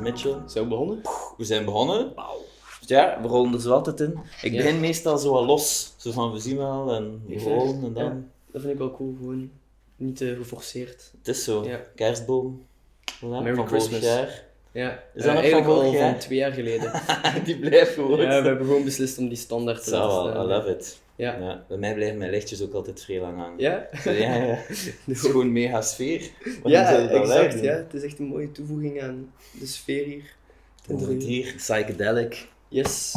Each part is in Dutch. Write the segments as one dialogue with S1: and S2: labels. S1: Mitchell.
S2: Zijn we begonnen?
S1: We zijn begonnen. Dus ja, we rollen er zo altijd in. Ik
S2: Ja.
S1: begin meestal zo wat los. Zo van, we zien wel en we
S2: Ik vind-
S1: rollen en dan...
S2: Dat vind ik wel cool, gewoon niet te geforceerd.
S1: Het is zo.
S2: Ja.
S1: Kerstboom. Voilà,
S2: Merry
S1: van
S2: Christmas.
S1: vorig jaar.
S2: Ja,
S1: Is dat nog
S2: Eh,
S1: van
S2: eigenlijk
S1: vorig
S2: al
S1: jaar?
S2: van twee jaar geleden.
S1: Die blijft
S2: ja,
S1: gewoon.
S2: we hebben gewoon beslist om die standaard te
S1: Zo,
S2: laten
S1: I
S2: staan.
S1: love it.
S2: Ja. ja.
S1: Ja. Bij mij blijven mijn lichtjes ook altijd vrij lang hangen.
S2: Ja,
S1: Zo, ja, ja. Het is gewoon mega sfeer. Waarom
S2: ja
S1: zouden we dat blijven
S2: exact.
S1: doen?
S2: Ja. Het is echt een mooie toevoeging aan de sfeer hier.
S1: Hoe wordt het hier? Psychedelic.
S2: Yes.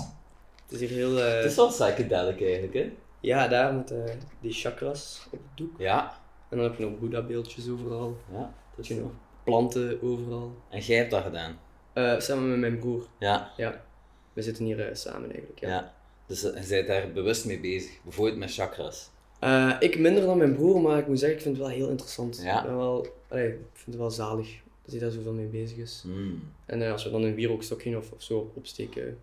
S2: Het is hier heel... eh,
S1: Het is wel psychedelic eigenlijk, hè?
S2: Ja, daar met eh, die chakras op het doek.
S1: Ja.
S2: En dan heb je nog Boeddha-beeldjes overal.
S1: ja dat
S2: Heb
S1: is
S2: je nog
S1: zo.
S2: planten overal.
S1: En jij hebt dat gedaan.
S2: Eh, samen met mijn broer.
S1: Ja.
S2: Ja. We zitten hier eh, samen eigenlijk.
S1: ja. Dus eh, je bent daar bewust mee bezig. Bijvoorbeeld met chakras.
S2: Eh, ik minder dan mijn broer, maar ik moet zeggen, ik vind het wel heel interessant.
S1: Ja.
S2: Ik, ben wel, allee, ik vind het wel zalig dat hij daar zoveel mee bezig is.
S1: Hmm.
S2: En eh, als we dan een wierookstokje of, of zo opsteken,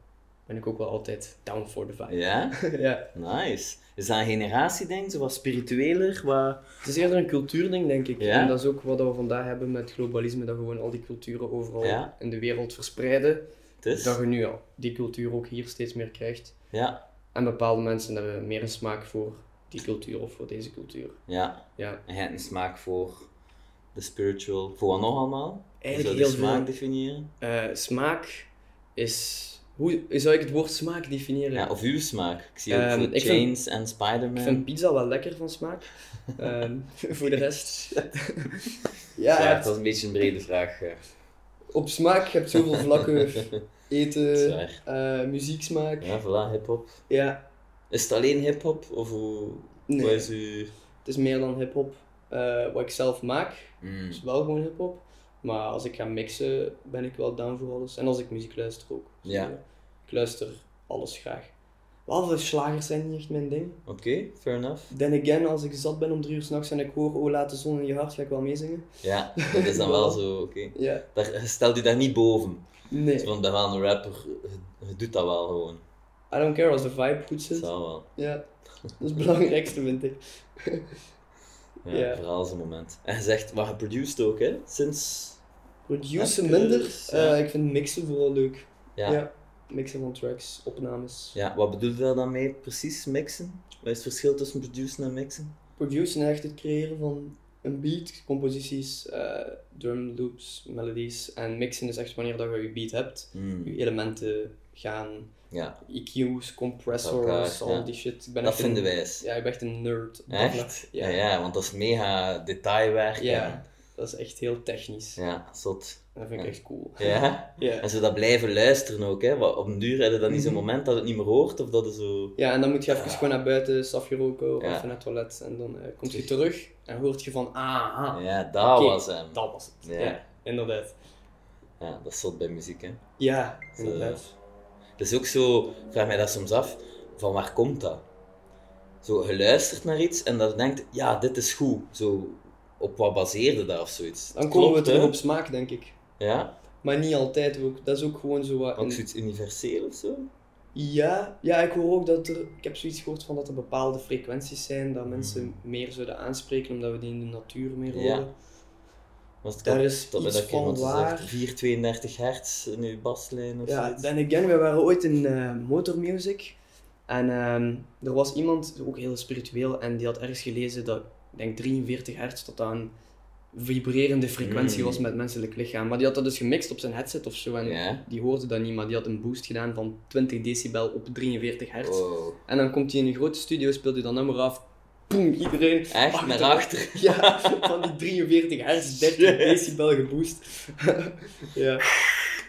S2: ben ik ook wel altijd down for the vibe.
S1: Ja?
S2: Ja.
S1: Nice. Is dat een generatieding? Zo wat spiritueler? Wat...
S2: Het is eerder een cultuurding, denk ik.
S1: Ja.
S2: En dat is ook wat we vandaag hebben met globalisme, dat gewoon al die culturen overal
S1: Ja.
S2: in de wereld verspreiden.
S1: Het is?
S2: Dat je nu al die cultuur ook hier steeds meer krijgt.
S1: Ja.
S2: En bepaalde mensen hebben meer een smaak voor die cultuur of voor deze cultuur.
S1: Ja.
S2: Ja.
S1: En jij hebt een smaak voor de spiritual. Voor wat nog allemaal? Hoe zou
S2: Eigenlijk
S1: je
S2: heel
S1: smaak
S2: veel.
S1: definiëren?
S2: Eh, smaak is. Hoe zou ik het woord smaak definiëren?
S1: Ja, of uw smaak. Ik zie
S2: Ehm,
S1: ook voor
S2: ik vind-
S1: Chains en
S2: Ik
S1: Spider-Man.
S2: vind pizza wel lekker van smaak. Ehm, voor de rest. ja,
S1: Zo,
S2: je
S1: dat
S2: hebt-
S1: was een beetje een brede vraag. eh.
S2: op smaak je hebt zoveel vlakken.
S1: Dat is
S2: Eten,
S1: waar.
S2: eh, muzieksmaak. Ja.
S1: Ja, voilà, hip-hop. Is het alleen hip-hop of hoe,
S2: nee.
S1: hoe is uw.
S2: Het is meer dan hip-hop. Eh, wat ik zelf maak,
S1: Mm.
S2: is wel gewoon hip-hop. Maar als ik ga mixen, ben ik wel down voor alles. En als ik muziek luister ook. Dus,
S1: Ja.
S2: eh, Ik luister alles graag. Behalve slagers zijn niet echt mijn ding.
S1: Oké, fair enough.
S2: Then again, als ik zat ben om drie uur s'nachts en ik hoor Oh laat de zon in je hart, ga ik wel meezingen.
S1: Ja, dat is dan wel zo, oké.
S2: Ja.
S1: Daar Stel je daar niet boven.
S2: Nee.
S1: Want ben wel een rapper, je- je doet dat wel gewoon.
S2: I don't care als de vibe goed
S1: Dat
S2: zit.
S1: zal wel.
S2: Ja. Dat is het belangrijkste, vind ik.
S1: Ja,
S2: Ja.
S1: Vooral zo'n moment. En je zegt, maar je produced ook, hè? Sinds.
S2: Producen
S1: Ja,
S2: minder.
S1: dus, ja.
S2: Eh, ik vind mixen vooral leuk.
S1: Ja. ja.
S2: Ja. Mixen van tracks, opnames.
S1: wat bedoel je daar dan mee precies? Mixen? Wat is het verschil tussen producen en mixen?
S2: Producen echt het creëren van een beat, composities, eh, drum loops, melodies. En mixen is echt wanneer dat je je beat hebt.
S1: Mm,
S2: Je elementen gaan,
S1: Ja,
S2: EQ's,
S1: Elkaar,
S2: compressors, al
S1: ja.
S2: die shit. Ik ben
S1: dat
S2: echt een-
S1: vinden wij eens.
S2: Ja, ik ben echt een nerd. op dat vlak.
S1: Echt?
S2: Ja.
S1: Ja. Ja, want dat is mega detailwerk.
S2: Ja. Dat is echt heel technisch.
S1: En, ja, zot.
S2: Dat vind ik
S1: Ja.
S2: echt cool.
S1: Ja.
S2: Ja.
S1: En zo dat blijven luisteren ook, hè? Wat- Op een duur heb je dan niet zo'n
S2: Mhm.
S1: moment dat het niet meer hoort of dat is zo.
S2: ja, en dan moet je even gewoon naar buiten, stafje roken of
S1: Ja.
S2: even naar het toilet. En dan eh, kom je terug en hoort je van, ah,
S1: Ja, dat
S2: Oké,
S1: was hem.
S2: dat was het.
S1: Ja.
S2: Ja. inderdaad.
S1: Ja, dat is zot bij muziek, hè?
S2: Ja,
S1: Zo.
S2: inderdaad.
S1: Dat is ook zo, ik vraag mij dat soms af, van waar komt dat? Zo, je luistert naar iets en dan denkt, ja, dit is goed. Zo, op wat baseerde dat of zoiets?
S2: Dan komen we
S1: Klopt,
S2: terug
S1: hè?
S2: op smaak, denk ik.
S1: Ja,
S2: Maar niet altijd ook. Dat is ook gewoon zo wat...
S1: ook
S2: een-
S1: zoiets universeel of zo?
S2: Ja, ja, ik hoor ook dat er... Ik heb zoiets gehoord van dat er bepaalde frequenties zijn dat mensen meer zullen aanspreken omdat we die in de natuur meer
S1: Mm. Ja.
S2: horen.
S1: Was het
S2: Daar
S1: klopt
S2: is
S1: dat,
S2: iets
S1: dat
S2: van
S1: iemand
S2: waar.
S1: zegt 432 hertz in uw baslijn of
S2: Ja,
S1: zoiets?
S2: then again, we waren ooit in eh, Motor Music. En ehm, er was iemand, ook heel spiritueel, en die had ergens gelezen dat, ik denk 43 hertz, dat dat een vibrerende frequentie
S1: Mm.
S2: was met het menselijk lichaam. Maar die had dat dus gemixt op zijn headset of zo. En
S1: Ja.
S2: die hoorde dat niet, maar die had een boost gedaan van 20 decibel op 43 hertz.
S1: Wow.
S2: En dan komt hij in een grote studio, speelt hij dat nummer af. Poem, iedereen.
S1: Echt, naar achter.
S2: Ja, van die 43 hertz, 30
S1: Shit.
S2: decibel geboost. ja.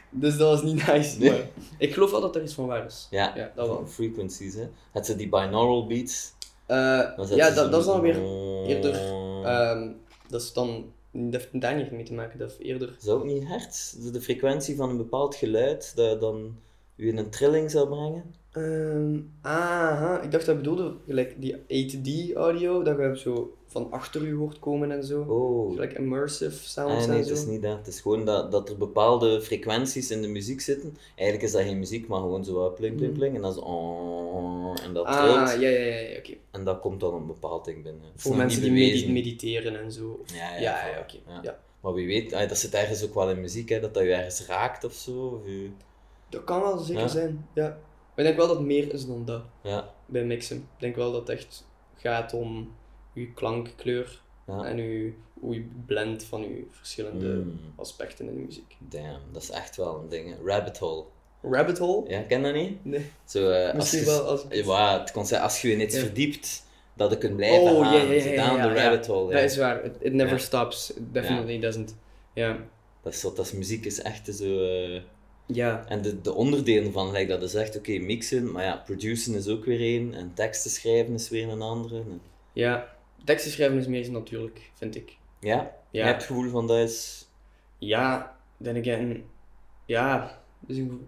S2: Dus dat was niet nice.
S1: Nee.
S2: Maar ik geloof wel dat er iets van waar is.
S1: Ja,
S2: Ja, dat wel.
S1: van frequencies, hè. Had ze die binaural beats?
S2: Eh,
S1: Dan dus
S2: ja,
S1: zetten ze
S2: dat, dat is
S1: zo'n-
S2: dan weer... eerder, ehm, dat is dan... Dat heeft daar niet mee te maken, dat heeft eerder...
S1: Is dat ook niet hertz? De, de frequentie van een bepaald geluid dat dan u in een trilling zou brengen?
S2: Ehm, aha, ik dacht dat bedoelde gelijk die 8D-audio, dat je zo van achter u hoort komen en zo.
S1: Oh.
S2: Gelijk immersive sounds
S1: Ah, nee,
S2: en
S1: het
S2: zo.
S1: is niet dat. Het is gewoon dat, dat er bepaalde frequenties in de muziek zitten. Eigenlijk is dat geen muziek, maar gewoon zo eh, pling pling
S2: Mhm.
S1: pling. En dan is oh, en dat trilt.
S2: ah, ja, ja, ja, ja, oké.
S1: En dat komt dan een bepaald ding binnen. Het is
S2: Voor
S1: nog
S2: mensen
S1: niet
S2: die medi-
S1: bewezen.
S2: mediteren en zo.
S1: Ja, ja,
S2: Ja, ja,
S1: voilà.
S2: oké.
S1: Ja.
S2: Ja.
S1: Maar wie weet, ah, dat zit ergens ook wel in muziek, hè, dat dat je ergens raakt of zo. Of je-
S2: Dat kan wel zeker
S1: Ja.
S2: zijn, ja. Maar ik denk wel dat het meer is dan dat
S1: Ja,
S2: bij mixen. Ik denk wel dat het echt gaat om je klankkleur
S1: ja.
S2: en uw, hoe je blend van je verschillende
S1: Mm,
S2: aspecten in de muziek.
S1: damn, dat is echt wel een ding. hè. Rabbit hole.
S2: Rabbit hole?
S1: Ja, ken je dat niet?
S2: Nee.
S1: Zo, eh, als
S2: Misschien
S1: je,
S2: wel als...
S1: Ja, maar het concept, als je je net
S2: Ja.
S1: verdiept, dat je kunt blijven
S2: Oh,
S1: gaan.
S2: ja, ja, ja,
S1: Zo
S2: ja,
S1: down
S2: ja,
S1: the
S2: ja.
S1: rabbit hole. ja.
S2: Dat is waar. It, it never
S1: Ja.
S2: stops. It definitely doesn't. Ja.
S1: Dat is, zo- dat is muziek is echt zo. eh,
S2: Ja.
S1: en de, de onderdelen van, like dat is echt, oké, mixen, maar ja, producen is ook weer één. En teksten schrijven is weer een andere. En-
S2: Ja. Teksten schrijven is meer natuurlijk, vind ik.
S1: ja, je
S2: Ja.
S1: hebt het gevoel van dat is.
S2: Ja, then again. Ja. Dus een, gevo-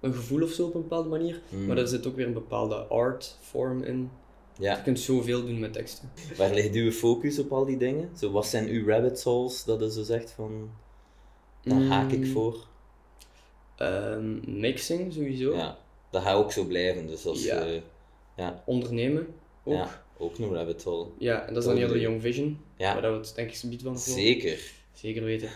S2: een gevoel of zo op een bepaalde manier.
S1: hmm,
S2: Maar daar zit ook weer een bepaalde art form in.
S1: Ja.
S2: Je kunt zoveel doen met teksten.
S1: Waar ligt uw focus op al die dingen? Zo, wat zijn uw rabbit holes dat je zo zegt van. Daar haak ik
S2: Mm,
S1: voor.
S2: ehm, mixing sowieso.
S1: Ja, dat gaat ook zo blijven. Dus als
S2: Ja.
S1: je-
S2: Ondernemen ook.
S1: Ja.
S2: Ja.
S1: ook een rabbit hole.
S2: en dat is dan eerder
S1: Totally.
S2: Young Vision.
S1: Ja.
S2: Waar we het denk ik zo van volgen.
S1: Zeker.
S2: Zeker weten.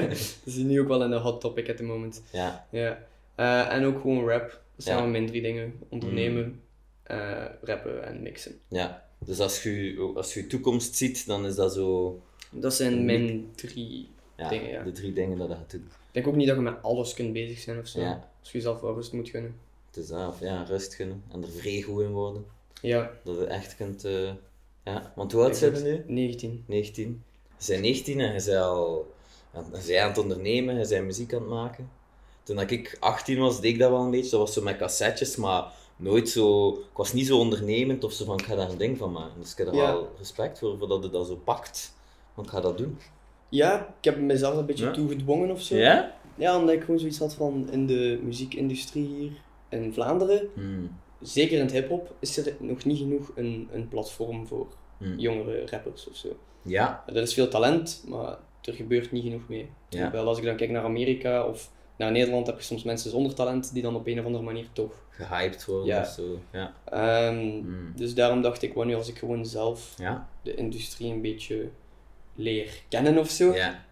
S2: dat is nu ook wel een hot topic at the moment.
S1: Ja,
S2: Ja. Eh, en ook gewoon rap. Dat zijn
S1: Ja. Hmm.
S2: wel mijn drie dingen. Ondernemen, eh, rappen en mixen.
S1: ja. Dus als je, als je toekomst ziet, dan is dat zo.
S2: Dat zijn mijn drie.
S1: Ja,
S2: Dingen, ja.
S1: de drie dingen dat je gaat doen.
S2: Ik denk ook niet dat je met alles kunt bezig zijn of zo.
S1: Ja.
S2: Als je jezelf wel rust moet gunnen.
S1: Het is dat, of ja, rust gunnen en er vrij goed in worden.
S2: Ja,
S1: Dat je echt kunt. eh, ja. Want hoe oud zijn we nu?
S2: 19.
S1: 19. Je bent 19 en je bent al je bent aan het ondernemen, je bent muziek aan het maken. Toen dat ik 18 was, deed ik dat wel een beetje. Dat was zo met cassettes, maar nooit zo... Ik was niet zo ondernemend of zo van, ik ga daar een ding van maken. Dus ik heb er
S2: Ja.
S1: wel respect voor, voor dat je dat zo pakt. Want ik ga dat doen.
S2: Ja, ik heb mezelf een beetje
S1: Ja.
S2: toegedwongen of zo.
S1: Ja?
S2: Ja, omdat ik gewoon zoiets had van in de muziekindustrie hier in Vlaanderen,
S1: Hmm.
S2: zeker in het hip-hop, is er nog niet genoeg een, een platform voor
S1: Hmm.
S2: jongere rappers of zo.
S1: Ja.
S2: Er is veel talent, maar er gebeurt niet genoeg mee.
S1: Ja.
S2: Terwijl als ik dan kijk naar Amerika of naar Nederland, heb je soms mensen zonder talent die dan op een of andere manier toch.
S1: Gehyped worden
S2: Ja.
S1: of zo. Ja.
S2: Ehm,
S1: Hmm.
S2: Dus daarom dacht ik, wanneer als ik gewoon zelf
S1: Ja?
S2: de industrie een beetje leer kennen of zo,
S1: Ja.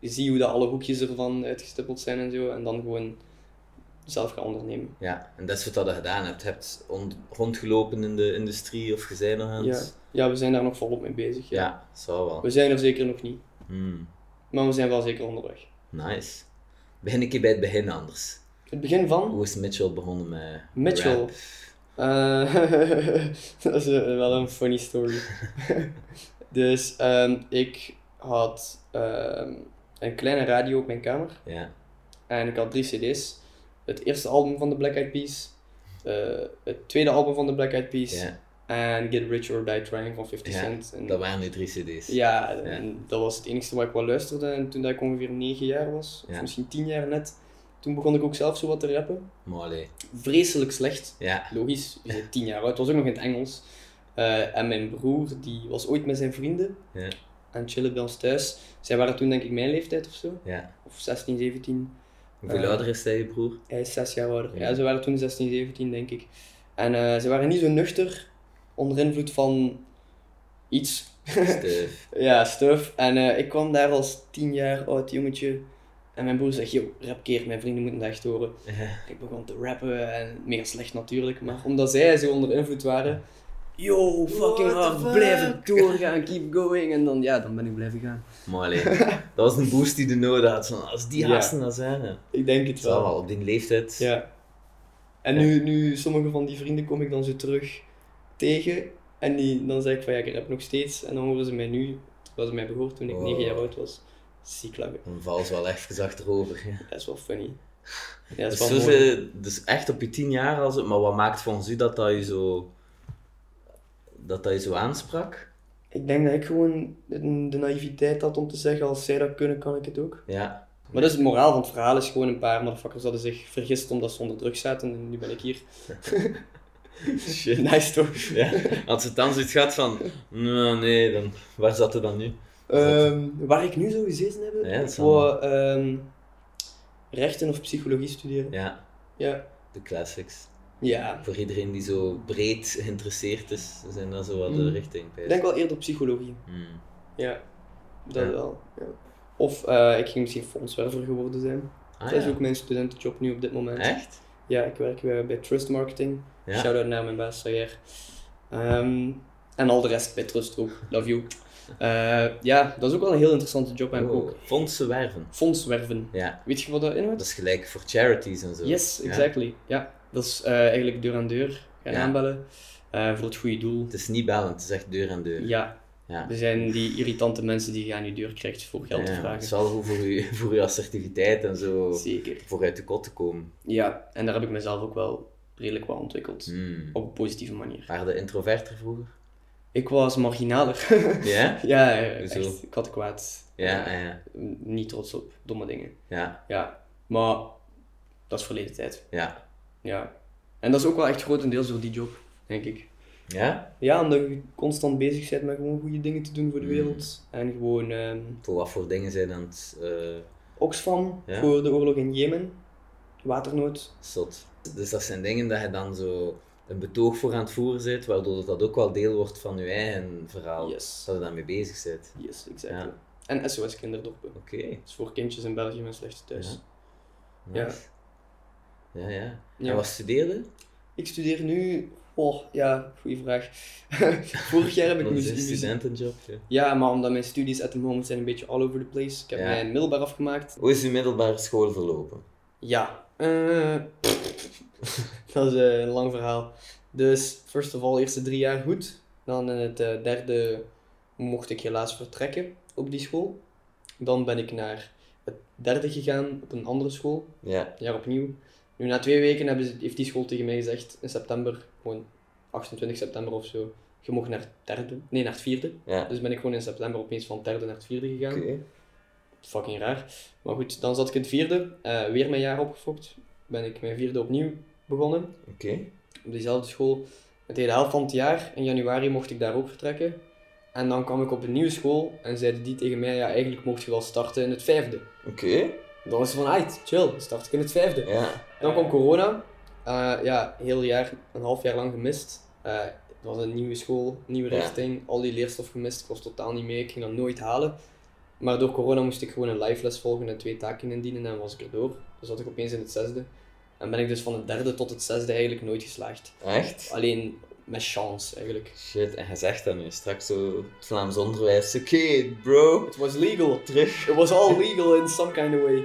S2: zie hoe dat alle hoekjes ervan uitgestippeld zijn en zo, en dan gewoon zelf gaan ondernemen.
S1: Ja. En dat is wat dat je gedaan hebt. Je hebt on- rondgelopen in de industrie of je bent nog aan
S2: Ja.
S1: het...
S2: Dus, ja, we zijn daar nog volop mee bezig.
S1: Ja. zou wel.
S2: We zijn er zeker nog niet,
S1: Hmm.
S2: maar we zijn wel zeker onderweg.
S1: Nice. Begin ik hier bij het begin anders.
S2: Het begin van
S1: Hoe is Mitchell begonnen met
S2: Mitchell.
S1: rap?
S2: Eh, dat is eh, wel een funny story. dus ehm, ik had ehm, een kleine radio op mijn kamer
S1: Ja.
S2: en ik had drie cd's. Het eerste album van de Black Eyed Peas, eh, het tweede album van de Black Eyed Peas
S1: ja,
S2: en Get Rich or Die Trying van 50
S1: Ja,
S2: Cent. En,
S1: dat waren nu drie cd's.
S2: ja,
S1: Ja.
S2: en dat was het enige wat ik wel luisterde en toen dat ik ongeveer 9 jaar was,
S1: Ja.
S2: of misschien 10 jaar net, toen begon ik ook zelf zo wat te rappen.
S1: Maar allee.
S2: Vreselijk slecht.
S1: Ja.
S2: Logisch, je bent tien jaar oud. Het was ook nog in het Engels. Eh, en mijn broer, die was ooit met zijn vrienden
S1: Ja.
S2: aan het chillen bij ons thuis. Zij waren toen denk ik mijn leeftijd of zo.
S1: ja.
S2: Of 16, 17.
S1: Hoeveel
S2: Eh.
S1: ouder is hij, je broer?
S2: Hij is zes jaar ouder.
S1: Ja.
S2: Ja, ze waren toen 16, 17 denk ik. En eh, ze waren niet zo nuchter, onder invloed van iets.
S1: Stef.
S2: ja, stuff. En eh, ik kwam daar als tien jaar oud jongetje. En mijn broer zegt, yo, rap keer, mijn vrienden moeten dat echt horen.
S1: Ja.
S2: Ik begon te rappen en meer slecht natuurlijk, maar omdat zij zo onder invloed waren. Yo, fucking
S1: What the
S2: hard,
S1: fuck?
S2: blijven doorgaan, keep going. En dan, ja, dan ben ik blijven gaan.
S1: Maar allee. Dat was een boost die de nodig had. Van, als die
S2: Ja.
S1: gasten dat zijn, hè.
S2: Ik denk het
S1: Het zal
S2: wel.
S1: wel op die leeftijd.
S2: Ja. En
S1: Ja.
S2: nu, nu, sommige van die vrienden kom ik dan zo terug tegen. En die, dan zeg ik van, ja, ik rap nog steeds. En dan horen ze mij nu, terwijl ze mij gehoord toen ik
S1: Wow.
S2: 9 jaar oud was. Ziek lachen.
S1: Dan val ze wel even achterover. Ja.
S2: Dat is wel funny. Ja, dat
S1: Dus,
S2: is wel
S1: zo
S2: mooi.
S1: ze- dus echt op je tien jaar als het. Maar wat maakt volgens u dat dat je zo. dat dat je zo aansprak?
S2: Ik denk dat ik gewoon de naïviteit had om te zeggen, als zij dat kunnen, kan ik het ook.
S1: Ja.
S2: Maar dat is het moraal van het verhaal, is gewoon een paar motherfuckers hadden zich vergist omdat ze onder druk zaten en nu ben ik hier.
S1: Shit.
S2: Nice toch?
S1: Ja. Als het dan zoiets gaat van, nou, nee, dan, waar zat er dan nu?
S2: Ehm, waar ik nu zo gezeten heb,
S1: Ja, dat
S2: ik
S1: is
S2: wou ehm, rechten of psychologie studeren.
S1: Ja,
S2: Ja.
S1: de classics.
S2: Ja.
S1: Voor iedereen die zo breed geïnteresseerd is, zijn dat zo wat de
S2: Mm.
S1: richting.
S2: Ik denk wel eerder psychologie.
S1: Mm.
S2: Ja. Dat
S1: Ja.
S2: wel. Ja. Of eh, ik ging misschien fondswerver geworden zijn.
S1: Ah,
S2: dat is
S1: ja.
S2: ook mijn studentenjob nu op dit moment.
S1: Echt?
S2: Ja, ik werk eh, bij Trust Marketing.
S1: Ja.
S2: Shout-out naar mijn baas, Sayer. Ehm, en al de rest bij Trust ook. Love you. Eh, ja, dat is ook wel een heel interessante job en ook
S1: Oh, Fondsen werven.
S2: fondswerven.
S1: Ja,
S2: Weet je wat dat inhoudt?
S1: dat is gelijk voor charities en zo.
S2: Yes,
S1: Ja.
S2: exactly. Ja, dat is eh, eigenlijk deur aan deur gaan
S1: Ja.
S2: aanbellen eh, voor het goede doel.
S1: Het is niet bellen, het is echt deur aan deur.
S2: Ja,
S1: Ja.
S2: er zijn die irritante mensen die je aan je deur krijgt voor geld te
S1: Ja, Het is
S2: vragen.
S1: wel goed voor je, voor je assertiviteit en zo
S2: Zeker.
S1: vooruit de kot te komen.
S2: Ja, en daar heb ik mezelf ook wel redelijk wel ontwikkeld.
S1: Hmm.
S2: Op een positieve manier.
S1: Waren de introverter vroeger?
S2: Ik was marginaler.
S1: Ja?
S2: ja, eh,
S1: Hoezo?
S2: echt. Ik had kwaad.
S1: Ja, ah, ja,
S2: Niet trots op domme dingen.
S1: ja.
S2: Ja, maar dat is verleden tijd.
S1: Ja?
S2: Ja. En dat is ook wel echt grotendeels door die job, denk ik.
S1: Ja?
S2: Ja, omdat je constant bezig bent met gewoon goede dingen te doen voor de
S1: Mm.
S2: wereld. En gewoon ehm,
S1: Voor wat voor dingen zijn dan het eh,
S2: Oxfam
S1: Ja.
S2: voor de oorlog in Jemen. Waternood.
S1: zot? Dus dat zijn dingen dat je dan zo een betoog voor aan het voeren bent, waardoor dat ook wel deel wordt van je eigen verhaal.
S2: Yes.
S1: Dat je daarmee bezig bent.
S2: Yes, exact.
S1: Ja.
S2: En SOS Kinderdorpen.
S1: Oké.
S2: Dat is voor kindjes in België met slechte thuis.
S1: Nice. Ja, ja.
S2: Ja.
S1: En wat studeerde?
S2: Ik studeer nu... Oh, ja, goede vraag. Vorig jaar heb ik
S1: Dat is een
S2: muziek...
S1: studentenjob. Ja.
S2: Ja, maar omdat mijn studies at the moment zijn een beetje all over the place. Ik heb
S1: Ja.
S2: mijn middelbaar afgemaakt.
S1: Hoe is uw middelbare school verlopen?
S2: Ja. eh, dat is eh, een lang verhaal. Dus, first of all, eerste drie jaar goed. Dan in het eh, derde mocht ik helaas vertrekken op die school. Dan ben ik naar het derde gegaan op een andere school,
S1: Ja.
S2: een jaar opnieuw. Nu na twee weken hebben ze, heeft die school tegen mij gezegd, in september, gewoon 28 september of zo, je mocht naar het derde, nee naar het vierde.
S1: Ja.
S2: Dus ben ik gewoon in september opeens van het derde naar het vierde gegaan.
S1: Oké.
S2: Fucking raar. Maar goed, dan zat ik in het vierde, eh, weer mijn jaar opgefokt. Ben ik mijn vierde opnieuw begonnen,
S1: Oké.
S2: op diezelfde school. Het hele helft van het jaar, in januari, mocht ik daar ook vertrekken. En dan kwam ik op een nieuwe school en zeiden die tegen mij, ja, eigenlijk mocht je wel starten in het vijfde.
S1: Oké.
S2: Dan is het van, uit, chill, dan start ik in het vijfde.
S1: Ja.
S2: Dan kwam corona. Eh, ja, heel jaar, een half jaar lang gemist. Eh, het was een nieuwe school, nieuwe
S1: Ja.
S2: richting, al die leerstof gemist. Ik was totaal niet mee, ik ging dat nooit halen. Maar door corona moest ik gewoon een live les volgen en twee taken indienen en was ik erdoor. Dus zat ik opeens in het zesde. En ben ik dus van het derde tot het zesde eigenlijk nooit geslaagd.
S1: Echt?
S2: Alleen met chance eigenlijk.
S1: Shit, en hij zegt dat nu straks zo, het Vlaams onderwijs, oké bro,
S2: It was legal.
S1: terug.
S2: It was all legal in some kind of way.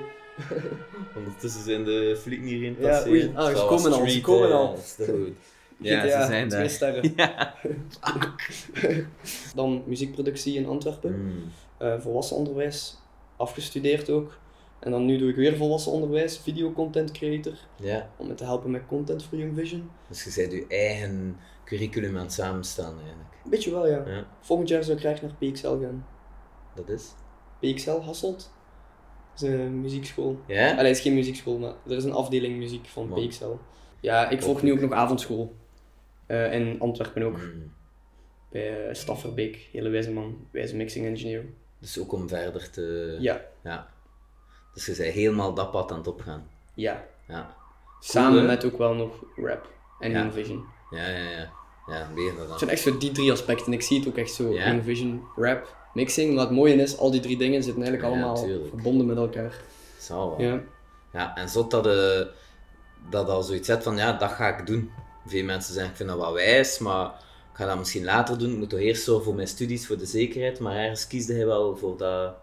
S1: Ondertussen zijn de flieken hierin
S2: Ja,
S1: passeren.
S2: oei. Ah, ze
S1: Trouwens,
S2: komen al, ze
S1: street,
S2: komen
S1: eh,
S2: al.
S1: is te goed. Ja, ze zijn
S2: twee
S1: daar.
S2: sterren.
S1: Ja.
S2: Dan muziekproductie in Antwerpen.
S1: Mm,
S2: eh, volwassen onderwijs, afgestudeerd ook. En dan nu doe ik weer volwassen onderwijs, video content creator,
S1: ja,
S2: om me te helpen met content voor Young Vision.
S1: dus je bent je eigen curriculum aan het samenstaan eigenlijk.
S2: Een beetje wel, ja.
S1: Ja,
S2: Volgend jaar zou ik graag naar PXL gaan.
S1: dat is.
S2: PXL Hasselt? Dat is een muziekschool.
S1: Ja?
S2: Allee, het is geen muziekschool, maar er is een afdeling muziek van
S1: Man.
S2: PXL. Ja, ik volg nu ook nog avondschool. Eh, in Antwerpen ook,
S1: Mm,
S2: bij eh, Stafferbeek, hele wijze man, wijze mixing engineer.
S1: Dus ook om verder te...
S2: Ja,
S1: ja. Dus je bent helemaal dat pad aan het opgaan.
S2: ja.
S1: Ja,
S2: Samen
S1: hè?
S2: met ook wel nog rap en
S1: Ja.
S2: Young Vision.
S1: ja, ja. Ja, ja meer dan
S2: Het
S1: dat.
S2: zijn echt zo die drie aspecten. Ik zie het ook echt zo.
S1: Ja.
S2: Young Vision, rap, mixing. Maar het mooie is, al die drie dingen zitten eigenlijk
S1: Ja,
S2: allemaal
S1: tuurlijk.
S2: verbonden met elkaar.
S1: Zal wel.
S2: Ja.
S1: Ja, en zot dat, eh, dat al zoiets zet van ja, dat ga ik doen. Veel mensen zeggen ik vind dat wel wijs, maar ik ga dat misschien later doen. Ik moet toch eerst zorgen voor mijn studies, voor de zekerheid. Maar ergens kiesde hij wel voor dat.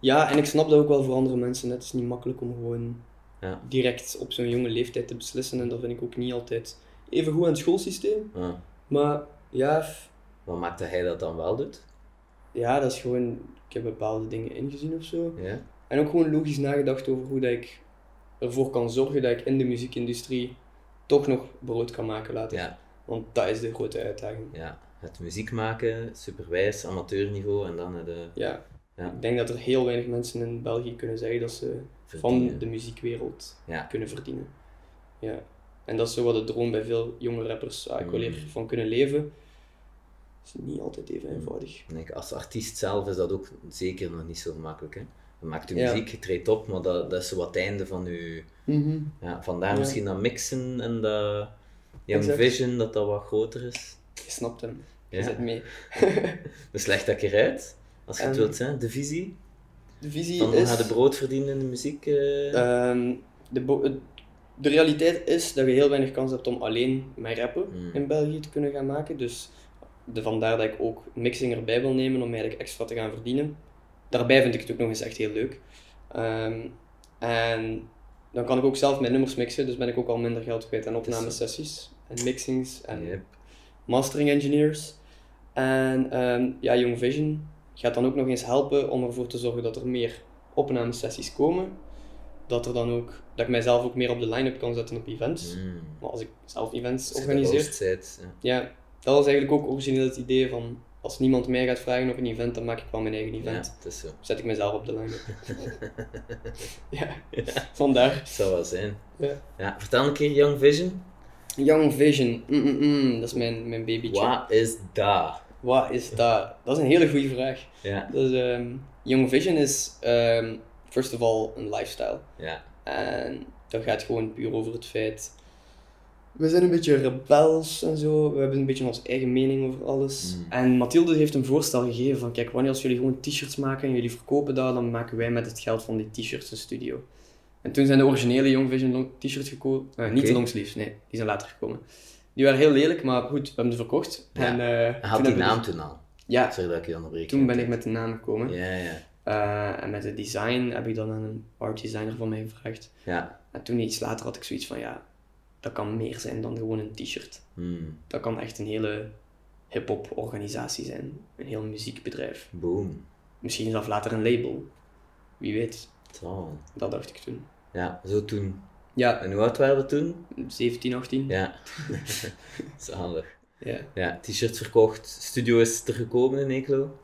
S2: ja, en ik snap dat ook wel voor andere mensen. Het is niet makkelijk om gewoon
S1: Ja.
S2: direct op zo'n jonge leeftijd te beslissen. En dat vind ik ook niet altijd even goed aan het schoolsysteem.
S1: eh,
S2: Maar ja, f-
S1: wat maakt dat hij dat dan wel doet?
S2: ja, dat is gewoon... Ik heb bepaalde dingen ingezien of zo.
S1: Ja,
S2: En ook gewoon logisch nagedacht over hoe dat ik ervoor kan zorgen dat ik in de muziekindustrie toch nog brood kan maken later.
S1: ja,
S2: Want dat is de grote uitdaging.
S1: ja. Het muziek maken, superwijs, amateurniveau en dan de
S2: Ja.
S1: Ja.
S2: Ik denk dat er heel weinig mensen in België kunnen zeggen dat ze van de muziekwereld
S1: Ja.
S2: kunnen verdienen. Ja. En dat is zo wat de droom bij veel jonge rappers. Ah, ik wil hier
S1: Mm.
S2: van kunnen leven. is niet altijd even
S1: Mm.
S2: eenvoudig.
S1: Ik denk, als artiest zelf is dat ook zeker nog niet zo makkelijk. Hè? Je maakt je
S2: Ja.
S1: muziek, je treedt op, maar dat, dat is zo wat het einde van je. Ja, vandaar
S2: Ja.
S1: misschien dat mixen en dat Young
S2: Exact.
S1: Vision, dat dat wat groter is.
S2: Je snapt hem. Je
S1: Ja.
S2: zit mee.
S1: Dus leg dat eruit, als je het
S2: En-
S1: wilt zijn, de visie.
S2: De visie
S1: Van
S2: is...
S1: is... de brood verdienen in de muziek. eh,
S2: Ehm, de, bo- het- de realiteit is dat je heel weinig kans hebt om alleen met rappen
S1: Mm.
S2: in België te kunnen gaan maken. Dus de, vandaar dat ik ook mixing erbij wil nemen om eigenlijk extra te gaan verdienen. Daarbij vind ik het ook nog eens echt heel leuk. Ehm, en dan kan ik ook zelf mijn nummers mixen, dus ben ik ook al minder geld kwijt aan opnamesessies en mixings Eh, en
S1: Yep.
S2: mastering engineers. En ehm, ja, Young Vision gaat dan ook nog eens helpen om ervoor te zorgen dat er meer opnamesessies komen. Dat, er dan ook, dat ik mijzelf ook meer op de line-up kan zetten op events.
S1: Mm.
S2: Maar als ik zelf events
S1: Als je de
S2: organiseer.
S1: host bent, ja.
S2: Ja, dat was eigenlijk ook origineel het idee van als niemand mij gaat vragen op een event, dan maak ik wel mijn eigen event.
S1: Ja, het is zo.
S2: Zet ik mezelf op de line-up. ja, vandaar.
S1: Het zou wel zijn.
S2: Ja.
S1: vertel een keer Young Vision.
S2: Young Vision, mm, mm, mm, dat is mijn, mijn babytje.
S1: Wat is dat?
S2: Wat is dat? Dat is een hele goede vraag.
S1: Ja,
S2: Dus ehm, Young Vision is, ehm, first of all, een lifestyle.
S1: ja.
S2: En dat gaat gewoon puur over het feit... We zijn een beetje rebels en zo. We hebben een beetje onze eigen mening over alles.
S1: Mm.
S2: En Mathilde heeft een voorstel gegeven van... Kijk, wanneer als jullie gewoon t-shirts maken en jullie verkopen dat... dan maken wij met het geld van die t-shirts een studio. En toen zijn de originele Young Vision long- t-shirts gekomen. Eh, Niet de
S1: Oké.
S2: longsleeves, nee. Die zijn later gekomen. Die waren heel lelijk, maar goed, we hebben ze verkocht.
S1: Ja.
S2: En, eh,
S1: Hij
S2: toen
S1: had die
S2: hebben we- dus-
S1: naam toen al.
S2: Ja,
S1: Sorry dat ik je onderbreek.
S2: toen ben ik met de naam gekomen.
S1: Ja, ja.
S2: Eh, en met het design heb ik dan aan een art designer van mij gevraagd.
S1: Ja.
S2: En toen iets later had ik zoiets van ja, dat kan meer zijn dan gewoon een t-shirt.
S1: Hmm.
S2: Dat kan echt een hele hip-hop organisatie zijn. Een heel muziekbedrijf.
S1: Boom.
S2: Misschien zelf later een label. Wie weet.
S1: Zo.
S2: Dat dacht ik toen.
S1: Ja, zo toen.
S2: Ja,
S1: En hoe oud waren we toen?
S2: 17, 18. Ja.
S1: Ja. Zalig. Ja, t-shirts verkocht. Studio is er gekomen in Eeklo.